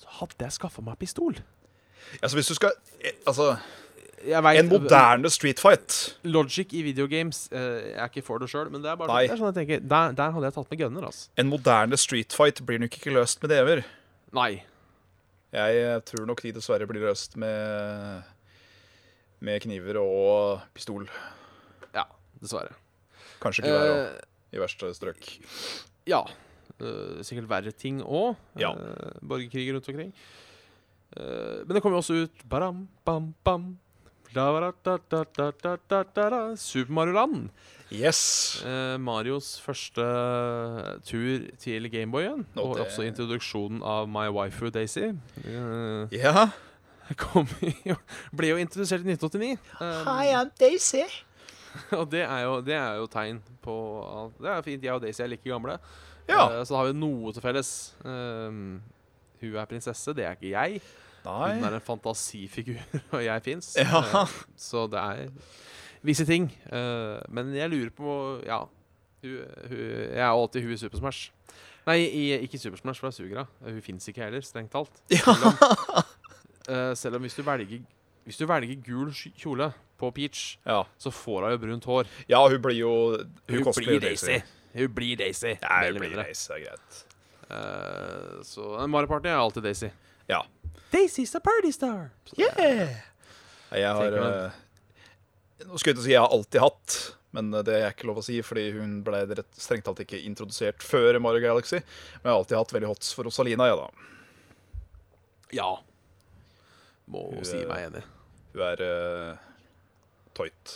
Speaker 1: så hadde jeg skaffa meg pistol.
Speaker 2: Altså hvis du skal eh, Altså,
Speaker 1: Jeg vet, øh,
Speaker 2: en moderne street fight.
Speaker 1: Logic i videogames eh, Jeg er ikke for det sjøl, men det er bare
Speaker 2: Nei.
Speaker 1: sånn, det er sånn jeg tenker. Der, der hadde jeg tatt med gunner, altså.
Speaker 2: En moderne street fight blir nok ikke løst med dever.
Speaker 1: Nei.
Speaker 2: Jeg eh, tror nok de dessverre blir løst med, med kniver og pistol.
Speaker 1: Ja, dessverre.
Speaker 2: Kanskje gevær òg,
Speaker 1: Eh,
Speaker 2: i verste strøk.
Speaker 1: Ja. Eh, sikkert verre ting òg.
Speaker 2: Ja.
Speaker 1: borgerkrig rundt omkring. Eh, men det kommer jo også ut Baram, bam, bam. Da, da, da, da, da, da, da, da. Super Mario Land.
Speaker 2: Yes!
Speaker 1: Eh, Marios første tur til Gameboyen.
Speaker 2: Nå,
Speaker 1: og
Speaker 2: det-
Speaker 1: også introduksjonen av My Waifu Daisy. eh,
Speaker 2: Ja.
Speaker 1: kom jo, ble jo introdusert i 1989. eh,
Speaker 2: I'm Daisy.
Speaker 1: og det er, jo, det er jo tegn på at Det er fint, jeg og Daisy er like gamle.
Speaker 2: Ja.
Speaker 1: Eh, så da har vi noe til felles. Um, hun er prinsesse, det er ikke jeg. Hun
Speaker 2: Nei.
Speaker 1: er en fantasifigur, og jeg fins. Eh,
Speaker 2: Ja.
Speaker 1: så det er visse ting. Eh, men jeg lurer på Ja. Hun, hun, jeg er alltid hun i Super Smash. Nei, i, ikke i Super Smash, for jeg suger av. Eh, Hun fins ikke heller, strengt talt. Selv om, eh, selv om hvis du velger Hvis du velger gul sk- kjole på Peach,
Speaker 2: Ja.
Speaker 1: så får hun jo brunt hår.
Speaker 2: ja, hun blir jo Hun, cosplayer
Speaker 1: Hun blir Daisy.
Speaker 2: Ja, hun
Speaker 1: mer eller
Speaker 2: blir
Speaker 1: mindre.
Speaker 2: Daisy, det er greit.
Speaker 1: Eh, så eh, Mario Party er alltid Daisy.
Speaker 2: Ja.
Speaker 1: Daisy's a party star!
Speaker 2: Jeg har
Speaker 1: Tenker man-
Speaker 2: eh, Nå skulle jeg til å si jeg har alltid hatt, men eh, det er ikke lov å si, fordi hun ble rett, strengt tatt ikke introdusert før Mario Galaxy. Men jeg har alltid hatt veldig hots for Rosalina, jeg, da.
Speaker 1: Ja. Må
Speaker 2: Hun,
Speaker 1: si
Speaker 2: eh,
Speaker 1: meg enig.
Speaker 2: Hun er uh, tøyt.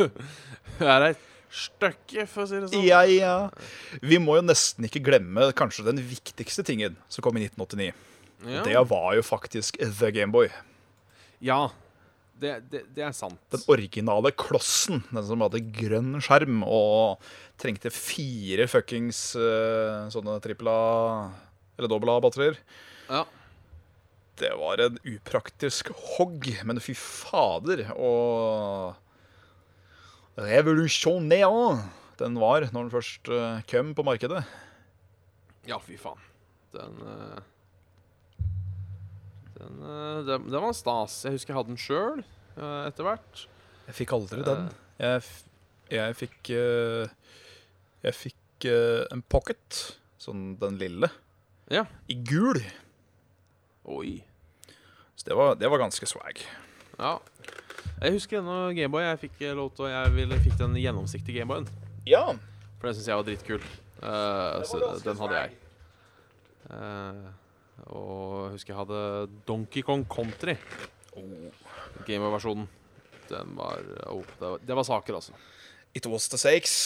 Speaker 1: Hun er et stykke, for å si det sånn.
Speaker 2: Ja, ja. Vi må jo nesten ikke glemme kanskje den viktigste tingen som kom i 1989.
Speaker 1: Ja.
Speaker 2: Det var jo faktisk The Gameboy.
Speaker 1: ja. Det, det, det er sant.
Speaker 2: Den originale klossen. Den som hadde grønn skjerm og trengte fire fuckings eh, sånne trippel A eller dobbel A-batterier.
Speaker 1: Ja.
Speaker 2: Det var en upraktisk hogg, men fy fader og Revolusjonær den var når den først eh, kom på markedet.
Speaker 1: Ja, fy faen. Den eh, den, eh, den, den var stas. Jeg husker jeg hadde den sjøl etter hvert.
Speaker 2: Jeg fikk aldri den. Eh, Jeg, f jeg fikk eh, Jeg fikk eh, en pocket, sånn den lille,
Speaker 1: Ja.
Speaker 2: i gul.
Speaker 1: Oi.
Speaker 2: Så det var, det var ganske swag.
Speaker 1: Ja. Jeg husker ennå Gameboy. Jeg fikk eh, lov til å Jeg ville, fikk den gjennomsiktige Gameboyen.
Speaker 2: Ja,
Speaker 1: For det syns jeg var dritkul. Eh, så den hadde jeg. Eh, og jeg husker jeg hadde Donkey Kong Country. Gamer-versjonen. Den var oh, det, var, det var saker, altså.
Speaker 2: it was the sakes.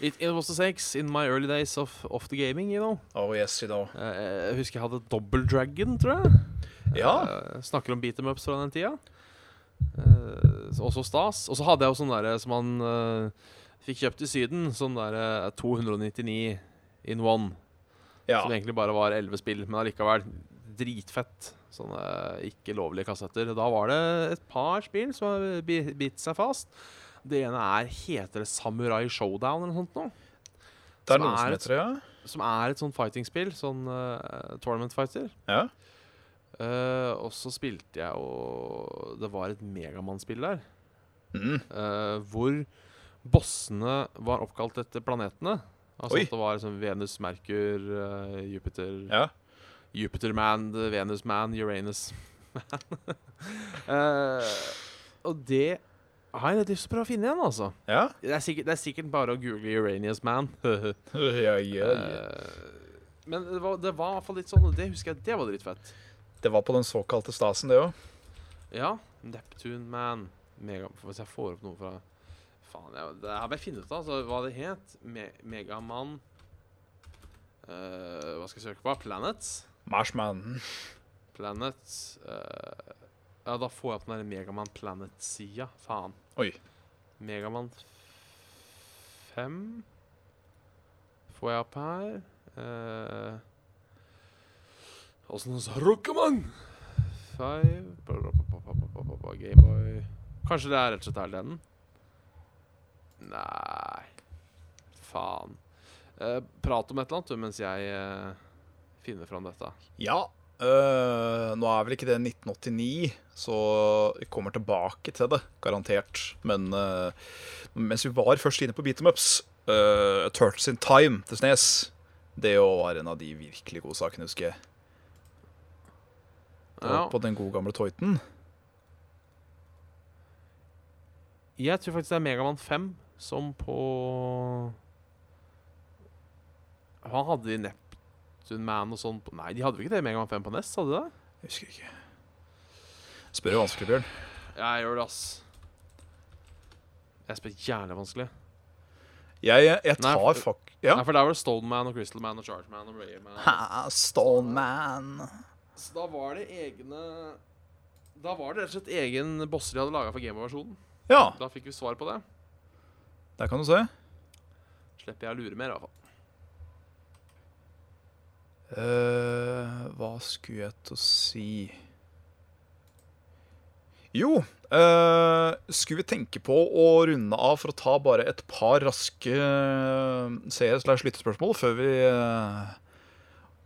Speaker 1: It, it was the sex in my early days of, of the gaming, you know.
Speaker 2: Oh yes, you know.
Speaker 1: Eh, jeg husker jeg hadde Double Dragon, tror jeg.
Speaker 2: Ja,
Speaker 1: Eh, snakker om beat em ups fra den tida. Eh, så- også stas. Og så hadde jeg jo sånn derre som man eh, fikk kjøpt i Syden. Sånn derre 299 in one.
Speaker 2: ja.
Speaker 1: Som egentlig bare var elleve spill, men allikevel dritfett. Sånne ikke lovlige kassetter. Da var det et par spill som har bi- bitt seg fast. Det ene er Heter det Samurai Showdown eller noe sånt noe?
Speaker 2: Det
Speaker 1: som
Speaker 2: er noen
Speaker 1: er
Speaker 2: som
Speaker 1: et-
Speaker 2: heter det,
Speaker 1: Som er et sånt fighting-spill. Sånn eh, tournament fighter.
Speaker 2: ja. ja.
Speaker 1: Eh, og så spilte jeg og Det var et Megamann-spill der.
Speaker 2: Mm.
Speaker 1: eh, hvor bossene var oppkalt etter planetene. Altså
Speaker 2: Oi.
Speaker 1: at det var liksom Venus, Merkur, eh, Jupiter
Speaker 2: ja.
Speaker 1: Jupiter-man, Venus-man, Uranus-man. Eh, og det har jeg litt lyst til å prøve å finne igjen, altså.
Speaker 2: Ja.
Speaker 1: Det er sikkert, det er sikkert bare å google Uranius-man.
Speaker 2: Ja, ja, ja.
Speaker 1: Eh, men det var, det var i hvert fall litt sånn, og det husker jeg, det var dritfett.
Speaker 2: Det var på den såkalte stasen, det òg.
Speaker 1: Ja, Neptune Man. Mega, hvis jeg får opp noe fra Faen, jeg, det her må jeg finne ut av altså, hva det het. Me Megamann eh, Hva skal jeg søke på? Planets?
Speaker 2: Marshman.
Speaker 1: Planets eh, Ja, da får jeg opp den der Megamann Planet-sida. Faen.
Speaker 2: Oi.
Speaker 1: Megamann 5 får jeg opp her. Eh, Åssen uh, Rockman! Five bla, bla, bla, bla, bla, bla, bla, bla, Gameboy Kanskje det er rett og slett er den? Nei Faen. Eh, prat om et eller annet du, mens jeg eh, finner fram dette.
Speaker 2: Ja. øh, nå er vel ikke det 1989, så vi kommer tilbake til det, garantert. Men øh, mens vi var først inne på Beat 'em Ups, øh, Turtles in Time til Snes Det jo var en av de virkelig gode sakene, husker jeg. Det var
Speaker 1: Ja.
Speaker 2: På den gode gamle Toyten.
Speaker 1: Jeg tror faktisk det er Megamann 5 som på Han hadde de Neptune Man og sånn på Nei, de hadde vel ikke det i Megamann 5 på Ness, hadde de det?
Speaker 2: Jeg husker ikke. Spør jo vanskelig, Bjørn.
Speaker 1: Jeg gjør det, ass. Jeg spør jævlig vanskelig.
Speaker 2: Jeg, jeg, jeg
Speaker 1: Nei,
Speaker 2: tar
Speaker 1: for-
Speaker 2: fuck... Ja.
Speaker 1: Nei, for der var det Stone Man og Crystal Man og Charge Man og Rare Man.
Speaker 2: Ha, Stone Man.
Speaker 1: Så da var det egne Da var det rett og slett egen bosser de hadde laga for gameversjonen.
Speaker 2: Ja,
Speaker 1: Da fikk vi svar på det.
Speaker 2: der kan du se.
Speaker 1: Slipper jeg å lure mer, i hvert fall.
Speaker 2: Eh, hva skulle jeg til å si Jo, eh, skulle vi tenke på å runde av for å ta bare et par raske eh, seer-slash-lyttespørsmål før vi eh,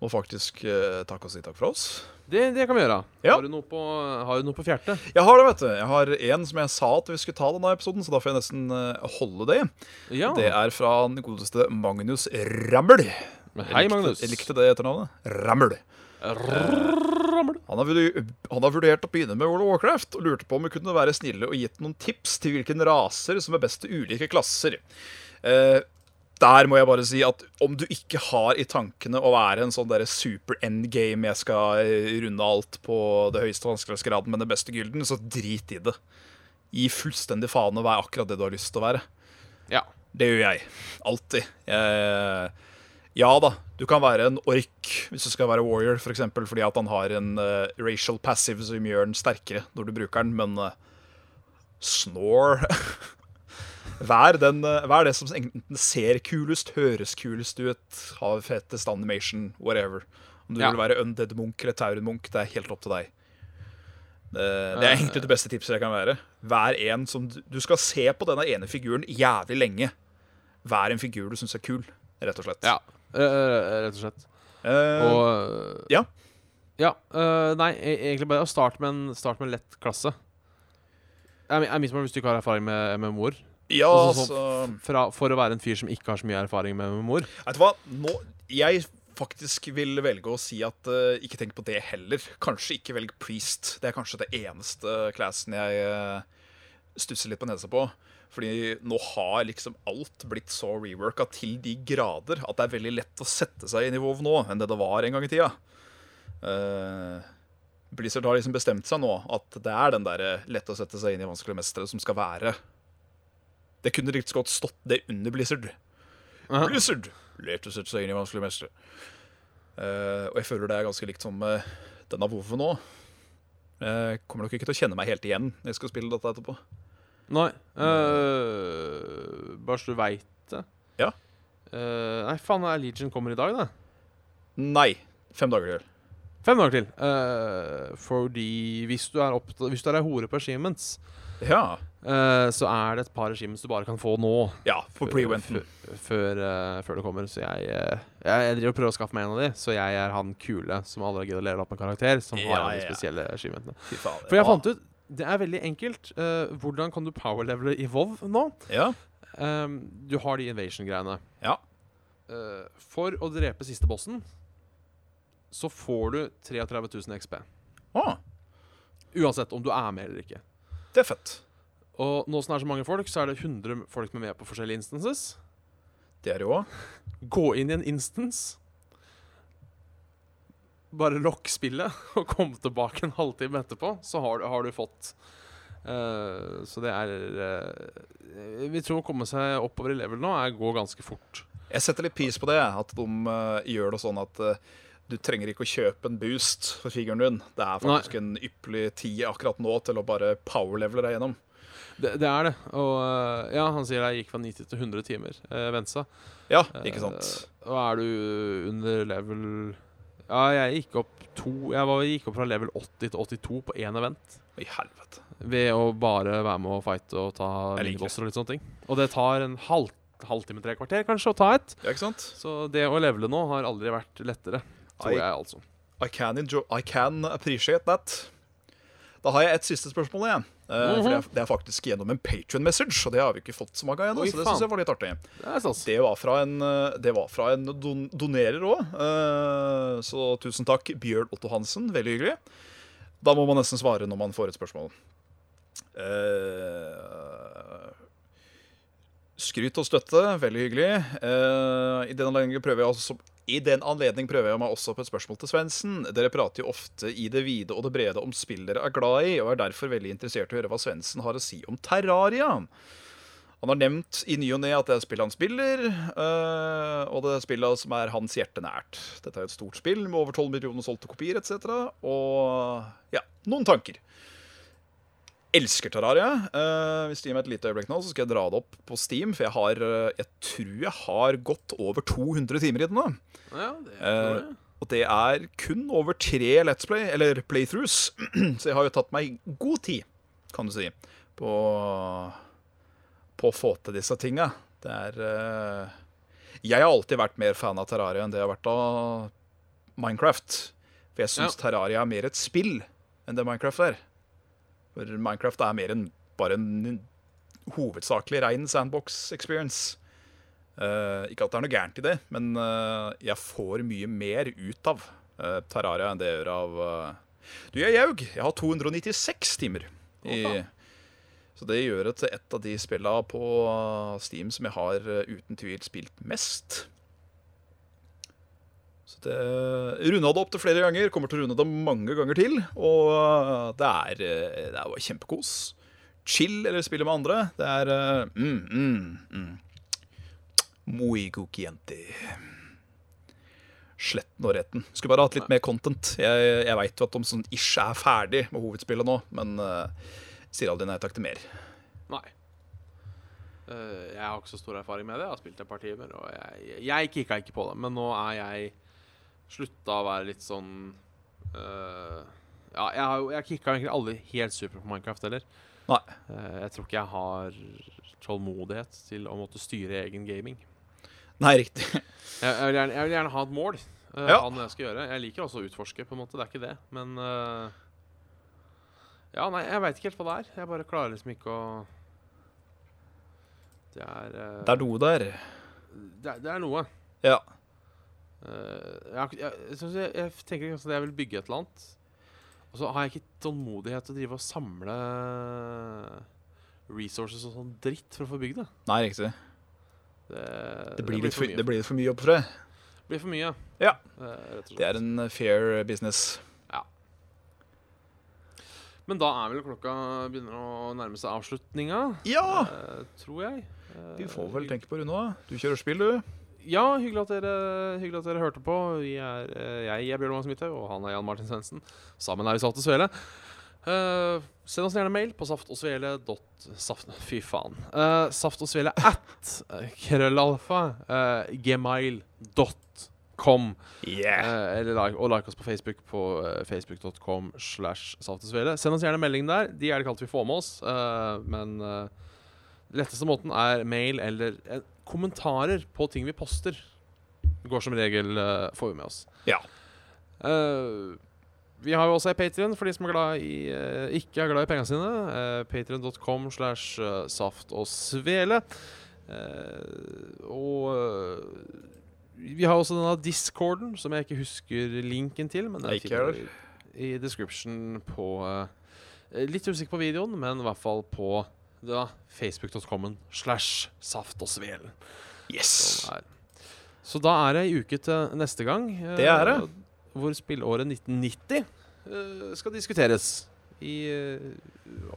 Speaker 2: må faktisk eh, takke og si takk for oss?
Speaker 1: Det, det kan vi gjøre.
Speaker 2: Ja.
Speaker 1: Har, du noe på, har du noe på fjertet?
Speaker 2: Jeg har det, vet du. Jeg har én som jeg sa at vi skulle ta denne episoden, så da får jeg nesten eh, holde det.
Speaker 1: Ja.
Speaker 2: Det er fra den godeste Magnus Rammel.
Speaker 1: Hei, Magnus.
Speaker 2: Jeg likte, jeg likte det etternavnet. Rammel.
Speaker 1: Rammel.
Speaker 2: Han har, vurd- han har vurdert å begynne med World of Warcraft og lurte på om vi kunne være snille og gitt noen tips til hvilken raser som er best til ulike klasser. Eh, der må jeg bare si at om du ikke har i tankene å være en sånn derre super endgame, jeg skal eh, runde alt på det høyeste vanskelighetsgraden med den beste gylden, så drit i det. Gi fullstendig faen og vær akkurat det du har lyst til å være.
Speaker 1: Ja.
Speaker 2: Det gjør jeg. Alltid. Jeg- Ja da, du kan være en ork hvis du skal være warrior, f.eks. eksempel fordi at han har en eh, racial passive som gjør den sterkere når du bruker den, men eh, snore vær, den, eh, vær det som enten ser kulest, høres kulest ut, har fetest animation, whatever. Om du
Speaker 1: Ja.
Speaker 2: vil være undead munk eller taurenmunk, det er helt opp til deg. Det, Eh, det er egentlig det beste tipset jeg kan være. Vær en som du- Du skal se på denne ene figuren jævlig lenge. Vær en figur du syns er kul, rett og slett.
Speaker 1: Ja, eh, eh, rett og slett.
Speaker 2: Eh,
Speaker 1: Og eh,
Speaker 2: ja.
Speaker 1: Ja. eh, nei, e- egentlig bare å starte med en, start med en lett klasse. Det er mi- er mye som er hvis du ikke har erfaring med, med mor.
Speaker 2: ja,
Speaker 1: også
Speaker 2: altså
Speaker 1: Fra, for å være en fyr som ikke har så mye erfaring med mor.
Speaker 2: Vet du hva? Nå, jeg faktisk vil velge å si at eh, ikke tenk på det heller. Kanskje ikke velg priest. Det er kanskje det eneste classen jeg eh, stusser litt på nesa på. Fordi nå har liksom alt blitt så reworka til de grader at det er veldig lett å sette seg inn i WoW nå enn det det var en gang i tida. Eh, Blizzard har liksom bestemt seg nå at det er den der eh, lett å sette seg inn i vanskelige mestere som skal være. Det kunne riktig så godt stått det under Blizzard. Blizzard lette seg seg inn i vanskelige mestere. Eh, og jeg føler det er ganske likt som eh, denne WoW-en nå. Eh, kommer nok ikke til å kjenne meg helt igjen når jeg skal spille dette etterpå.
Speaker 1: Nei. eh, bare så du veit det.
Speaker 2: Ja.
Speaker 1: Eh, nei, faen, er Legion kommer i dag, da.
Speaker 2: Nei. Fem dager til.
Speaker 1: Fem dager til. Eh, fordi hvis du er opptatt Hvis du er ei hore på achievements,
Speaker 2: Ja.
Speaker 1: eh, så er det et par achievements du bare kan få nå.
Speaker 2: ja for pre-wenten.
Speaker 1: Før, før, eh, før det kommer. Så jeg, eh, jeg, jeg driver og prøver å skaffe meg en av de. Så jeg er han kule som allerede lever opp en karakter som har
Speaker 2: Ja,
Speaker 1: alle de
Speaker 2: ja.
Speaker 1: spesielle achievementene.
Speaker 2: Fy faen.
Speaker 1: For jeg fant ut det er veldig enkelt. eh, hvordan kan du powerlevele i WoW nå?
Speaker 2: Ja.
Speaker 1: Ehm, du har de invasion-greiene.
Speaker 2: Ja.
Speaker 1: Eh, for å drepe siste bossen så får du 33 000 XP.
Speaker 2: Ah,
Speaker 1: Uansett om du er med eller ikke.
Speaker 2: det er fett.
Speaker 1: Og nå som det er så mange folk, så er det 100 folk med med på forskjellige instances.
Speaker 2: Det er det jo òg.
Speaker 1: Gå inn i en instance. Bare lokk spillet og kom tilbake en halvtime etterpå, så har du, har du fått Eh, Så det er eh, Vi tror å komme seg oppover i level nå er gå ganske fort.
Speaker 2: Jeg setter litt pris på det, at de eh, gjør det sånn at eh, du trenger ikke å kjøpe en boost for figuren din. Det er faktisk en ypperlig tid akkurat nå til å bare powerlevele deg gjennom.
Speaker 1: Det, det er det. Og eh, ja, han sier jeg gikk fra 90 til 100 timer. Uh, Vensa.
Speaker 2: Ja,
Speaker 1: Eh,
Speaker 2: ikke sant?
Speaker 1: Og er du under level Ja, jeg gikk opp to Jeg var, gikk opp fra level 80 til 82 på én event.
Speaker 2: I helvete.
Speaker 1: Ved å bare være med og fighte og ta
Speaker 2: Jeg liker det.
Speaker 1: minibosser og litt sånne ting. Og det tar en halv, halvtime, tre kvarter kanskje å ta et.
Speaker 2: Ja, ikke sant?
Speaker 1: Så det å levele nå har aldri vært lettere, tror
Speaker 2: Ai.
Speaker 1: jeg altså.
Speaker 2: I can, enjoy, I can appreciate that. Da har jeg et siste spørsmål. Jeg. Eh,
Speaker 1: Mhm.
Speaker 2: for det, er, det er faktisk gjennom en Patron-message, og det har vi ikke fått så mange av ennå.
Speaker 1: Oi,
Speaker 2: Så det
Speaker 1: faen.
Speaker 2: synes jeg var litt artig.
Speaker 1: Det er stas.
Speaker 2: Det var fra en, eh, det var fra en don donerer òg. så tusen takk, Bjørn Otto Hansen. Veldig hyggelig. Da må man nesten svare når man får et spørsmål. Eh, skryt og støtte, veldig hyggelig. Eh, I den anledning prøver jeg også i den anledning prøver jeg meg også på et spørsmål til Svendsen. Dere prater jo ofte i det vide og det brede om spill dere er glad i, og er derfor veldig interessert i å høre hva Svendsen har å si om Terraria. Han har nevnt i ny og ne at det er spillet han spiller, øh, og det er spillet som er hans hjerte nært. Dette er et stort spill med over 12 millioner solgte kopier etc. Og ja, noen tanker. Elsker Terraria. Øh, hvis du gir meg et lite øyeblikk nå, så skal jeg dra det opp på Steam, for jeg har øh, Jeg tror jeg har gått over 200 timer i det nå.
Speaker 1: Ja, det
Speaker 2: Eh, og det er kun over tre Let's Play, eller playthroughs, så jeg har jo tatt meg god tid, kan du si, på, på å få til disse tinga. Det er eh, Jeg har alltid vært mer fan av Terraria enn det jeg har vært av Minecraft. For jeg syns Terraria er mer et spill enn det Minecraft er. For Minecraft er mer enn bare en hovedsakelig rein sandbox experience. Eh, ikke at det er noe gærent i det, men eh, jeg får mye mer ut av eh, Terraria enn det jeg gjør av eh, Du, jeg jaug. Jeg har 296 timer. I, så det gjør det til et av de spilla på eh, Steam som jeg har eh, uten tvil spilt mest. Så det runda det opp til flere ganger, kommer til å runde det mange ganger til. Og eh, det er, eh, det er bare kjempekos. Chill eller spille med andre. Det er eh, mm, mm, mm. Muy cookienti. Sletten og retten. Skulle bare hatt litt mer content. Jeg, jeg veit jo at de sånn ish er ferdig med hovedspillet nå, men eh, sier aldri nei takk til mer.
Speaker 1: Nei. Eh, jeg har ikke så stor erfaring med det. Jeg har spilt et par timer, og jeg, jeg kikka ikke på det. Men nå er jeg slutta å være litt sånn eh, Ja, jeg, har jo- jeg kicka egentlig aldri helt super på Minecraft heller.
Speaker 2: Nei.
Speaker 1: Eh, jeg tror ikke jeg har tålmodighet til å måtte styre egen gaming.
Speaker 2: Nei, riktig.
Speaker 1: Jeg, jeg, vil, gjerne, jeg vil gjerne ha et mål. eh,
Speaker 2: Ja.
Speaker 1: Ha noe jeg skal gjøre. Jeg liker også å utforske, på en måte. Det er ikke det. Men eh, Ja, nei, jeg veit ikke helt hva det er. Jeg bare klarer liksom ikke å Det er eh,
Speaker 2: Det er noe der.
Speaker 1: det, er- det er noe.
Speaker 2: Ja.
Speaker 1: Eh, jeg, har ikke- jeg, jeg, synes jeg, jeg tenker kanskje at jeg vil bygge et eller annet. Og så har jeg ikke tålmodighet til å drive og samle resources og sånn dritt for å få bygd det.
Speaker 2: Nei, riktig.
Speaker 1: Det,
Speaker 2: Det blir, litt for,
Speaker 1: mye.
Speaker 2: det blir litt for mye opp for deg.
Speaker 1: Det blir for mye.
Speaker 2: Ja.
Speaker 1: eh, rett og slett.
Speaker 2: Det er en fair business.
Speaker 1: Men da er vel klokka begynner å nærme seg avslutninga,
Speaker 2: Ja!
Speaker 1: eh, tror jeg. Eh,
Speaker 2: Ah! Vi får vel
Speaker 1: hygg-
Speaker 2: tenke på det nå. Du kjører spill, du.
Speaker 1: Ja, hyggelig at dere, hyggelig at dere hørte på. Vi er, eh, jeg er Bjørn Magnus Midthaug, og han er Jan Martin Svendsen. Sammen er vi Saft og Svele. Eh, send oss gjerne mail på saftogsvele.saft... Fy faen. Uh, saftogsvele at eh, krøllalfa eh, gmail.com.
Speaker 2: Yeah.
Speaker 1: Eh, eller like, og like oss på Facebook på eh, facebook.com slash Saft og Svele. Send oss gjerne melding der. De er det ikke alltid vi får med oss, eh, men eh, letteste måten er mail eller eh, kommentarer på ting vi poster. Det går som regel, eh, får vi med oss.
Speaker 2: Ja.
Speaker 1: Eh, vi har jo også ei Patrion for de som er glad i, eh, ikke er glad i pengene sine. Uh, Patrion.com slash eh, saft og svele. Eh, og eh, vi har også denne discorden, som jeg ikke husker linken til. Men den
Speaker 2: Ikke
Speaker 1: finner
Speaker 2: jeg
Speaker 1: du i description på eh, Litt usikker på videoen, men i hvert fall på da, facebook.com slash saft og svelen.
Speaker 2: Yes.
Speaker 1: Sånn er. Så da er det ei uke til neste gang. eh,
Speaker 2: Det er det.
Speaker 1: Hvor spillåret 1990 eh, skal diskuteres. I, eh,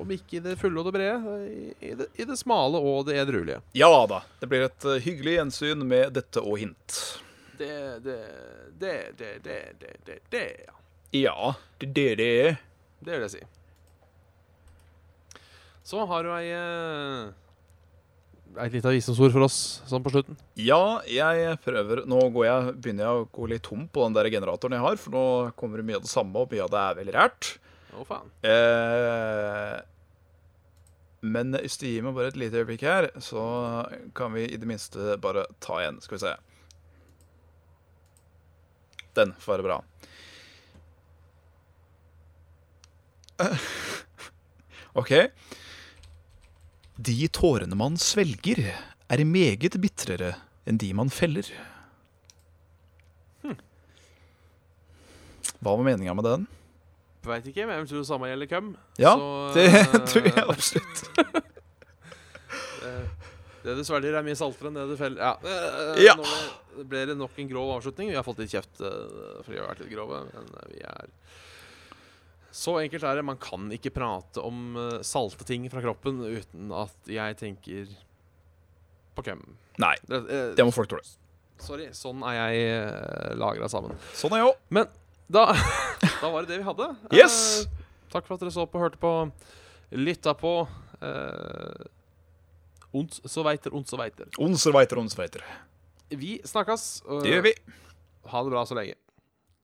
Speaker 1: om ikke i det fulle og det brede, eh, i det, i det smale og det edruelige.
Speaker 2: Ja da. Det blir et eh, hyggelig gjensyn med dette og hint.
Speaker 1: Det, det, det, det, det, det, det, det, ja.
Speaker 2: Ja, det er det det er.
Speaker 1: Det vil jeg si. Så har du ei eh, Et lite visdomsord for oss sånn på slutten.
Speaker 2: Ja, jeg prøver Nå går jeg, begynner jeg å gå litt tom på den der generatoren jeg har, for nå kommer det mye av det samme, og mye av det er veldig rært.
Speaker 1: Å, faen.
Speaker 2: Eh, men hvis du gir meg bare et lite øyeblikk her, så kan vi i det minste bare ta igjen. Skal vi se. Den får være bra. OK. De tårene man svelger, er meget bitrere enn de man feller. Hva var meninga med den?
Speaker 1: Veit ikke, men jeg tror det samme gjelder køm.
Speaker 2: Ja,
Speaker 1: Så,
Speaker 2: det
Speaker 1: eh,
Speaker 2: tror jeg absolutt.
Speaker 1: Eh, Det du svelger, er mye saltere enn det du feller. Ja. eh,
Speaker 2: Ja.
Speaker 1: Nå ble- ble det nok en grov avslutning. Vi har fått litt kjeft eh, fordi vi har vært litt grove, men eh, vi er Så enkelt er det. Man kan ikke prate om eh, salte ting fra kroppen uten at jeg tenker på hvem.
Speaker 2: Nei,
Speaker 1: Det, eh,
Speaker 2: det må folk tåle.
Speaker 1: Sorry. Sånn er jeg lagra sammen.
Speaker 2: Sånn er jeg òg.
Speaker 1: Da, da var det det vi hadde.
Speaker 2: Yes!
Speaker 1: Eh, takk for at dere så på, hørte på, lytta på. Eh, ons så veiter, ons så veiter.
Speaker 2: Onsveiter, onsveiter.
Speaker 1: Vi snakkes. og
Speaker 2: Det gjør vi.
Speaker 1: Ha det bra så lenge.